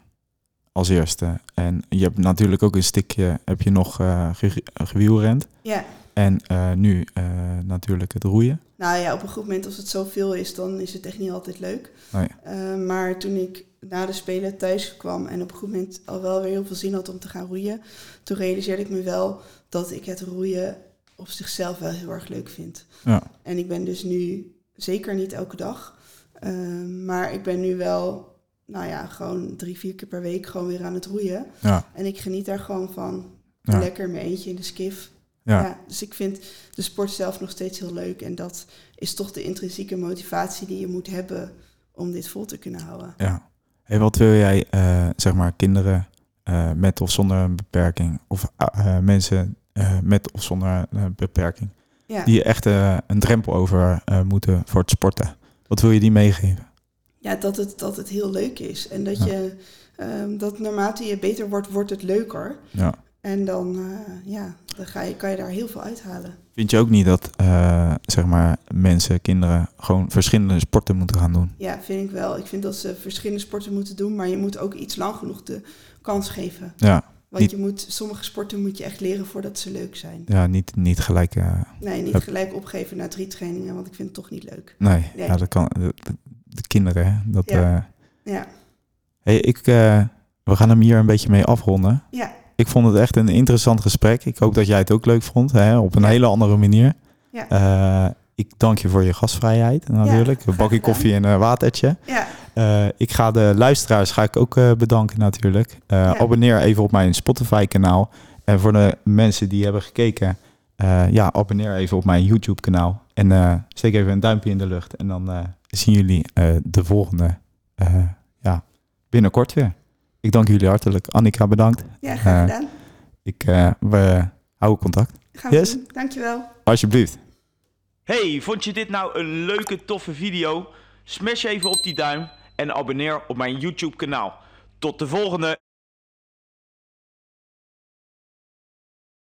Speaker 3: als eerste? En je hebt natuurlijk ook een stukje, heb je nog eh ge- gewielrend.
Speaker 4: Ja,
Speaker 3: En eh, nu eh, natuurlijk het roeien.
Speaker 4: nou ja, op een goed moment als het zoveel is, dan is het echt niet altijd leuk.
Speaker 3: Nee.
Speaker 4: Eh, maar toen ik na de Spelen thuis kwam en op een goed moment al wel weer heel veel zin had om te gaan roeien, toen realiseerde ik me wel dat ik het roeien op zichzelf wel heel erg leuk vind.
Speaker 3: Ja,
Speaker 4: En ik ben dus nu zeker niet elke dag. ehm, maar ik ben nu wel, nou ja, gewoon drie, vier keer per week gewoon weer aan het roeien.
Speaker 3: ja,
Speaker 4: En ik geniet daar gewoon van.
Speaker 3: Ja.
Speaker 4: Lekker mijn eentje in de skif.
Speaker 3: ja.
Speaker 4: dus ik vind de sport zelf nog steeds heel leuk. En dat is toch de intrinsieke motivatie die je moet hebben om dit vol te kunnen houden.
Speaker 3: ja. Hey, wat wil jij, eh, zeg maar, kinderen eh, met of zonder een beperking? Of eh, eh, mensen eh, met of zonder een beperking?
Speaker 4: Ja.
Speaker 3: Die echt eh, een drempel over eh, moeten voor het sporten. Wat wil je die meegeven?
Speaker 4: Ja, dat het, dat het heel leuk is. En dat
Speaker 3: Ja.
Speaker 4: je, ehm, dat naarmate je beter wordt, wordt het leuker.
Speaker 3: Ja,
Speaker 4: Eh, En dan, eh, ja, dan ga je, kan je daar heel veel uithalen.
Speaker 3: Vind je ook niet dat eh, zeg maar mensen, kinderen gewoon verschillende sporten moeten gaan doen?
Speaker 4: Ja, vind ik wel. Ik vind dat ze verschillende sporten moeten doen, maar je moet ook iets lang genoeg de kans geven.
Speaker 3: Ja,
Speaker 4: Want
Speaker 3: Niet-
Speaker 4: je moet, sommige sporten moet je echt leren voordat ze leuk zijn.
Speaker 3: ja niet, niet gelijk. eh,
Speaker 4: Nee,
Speaker 3: Hup.
Speaker 4: niet gelijk opgeven na drie trainingen, want ik vind het toch niet leuk.
Speaker 3: nee,
Speaker 4: Nee.
Speaker 3: Ja, dat kan. De, de kinderen, hè? Dat,
Speaker 4: Ja.
Speaker 3: eh,
Speaker 4: Ja,
Speaker 3: hey, ik, eh, we gaan hem hier een beetje mee afronden.
Speaker 4: ja,
Speaker 3: Ik vond het echt een interessant gesprek. Ik hoop dat jij het ook leuk vond, hè? op een hele andere manier.
Speaker 4: Ja.
Speaker 3: Eh, ik dank je voor je gastvrijheid natuurlijk.
Speaker 4: graag
Speaker 3: een bakje
Speaker 4: gedaan.
Speaker 3: koffie en een watertje.
Speaker 4: ja.
Speaker 3: Eh, ik ga de luisteraars ga ik ook eh, bedanken natuurlijk. Eh,
Speaker 4: Ja.
Speaker 3: Abonneer even op mijn Spotify kanaal. En voor de mensen die hebben gekeken, eh, ja, abonneer even op mijn YouTube kanaal. En eh, steek even een duimpje in de lucht. En dan eh, zien jullie eh, de volgende eh, ja, binnenkort weer. Ik dank jullie hartelijk. Annika, bedankt.
Speaker 4: ja graag
Speaker 3: Eh,
Speaker 4: gedaan.
Speaker 3: Ik, eh, we houden contact.
Speaker 4: Gaan we
Speaker 3: yes.
Speaker 4: doen. Dankjewel.
Speaker 3: Alsjeblieft.
Speaker 5: Hey, vond je dit nou een leuke, toffe video? Smash even op die duim en abonneer op mijn YouTube kanaal. Tot de volgende!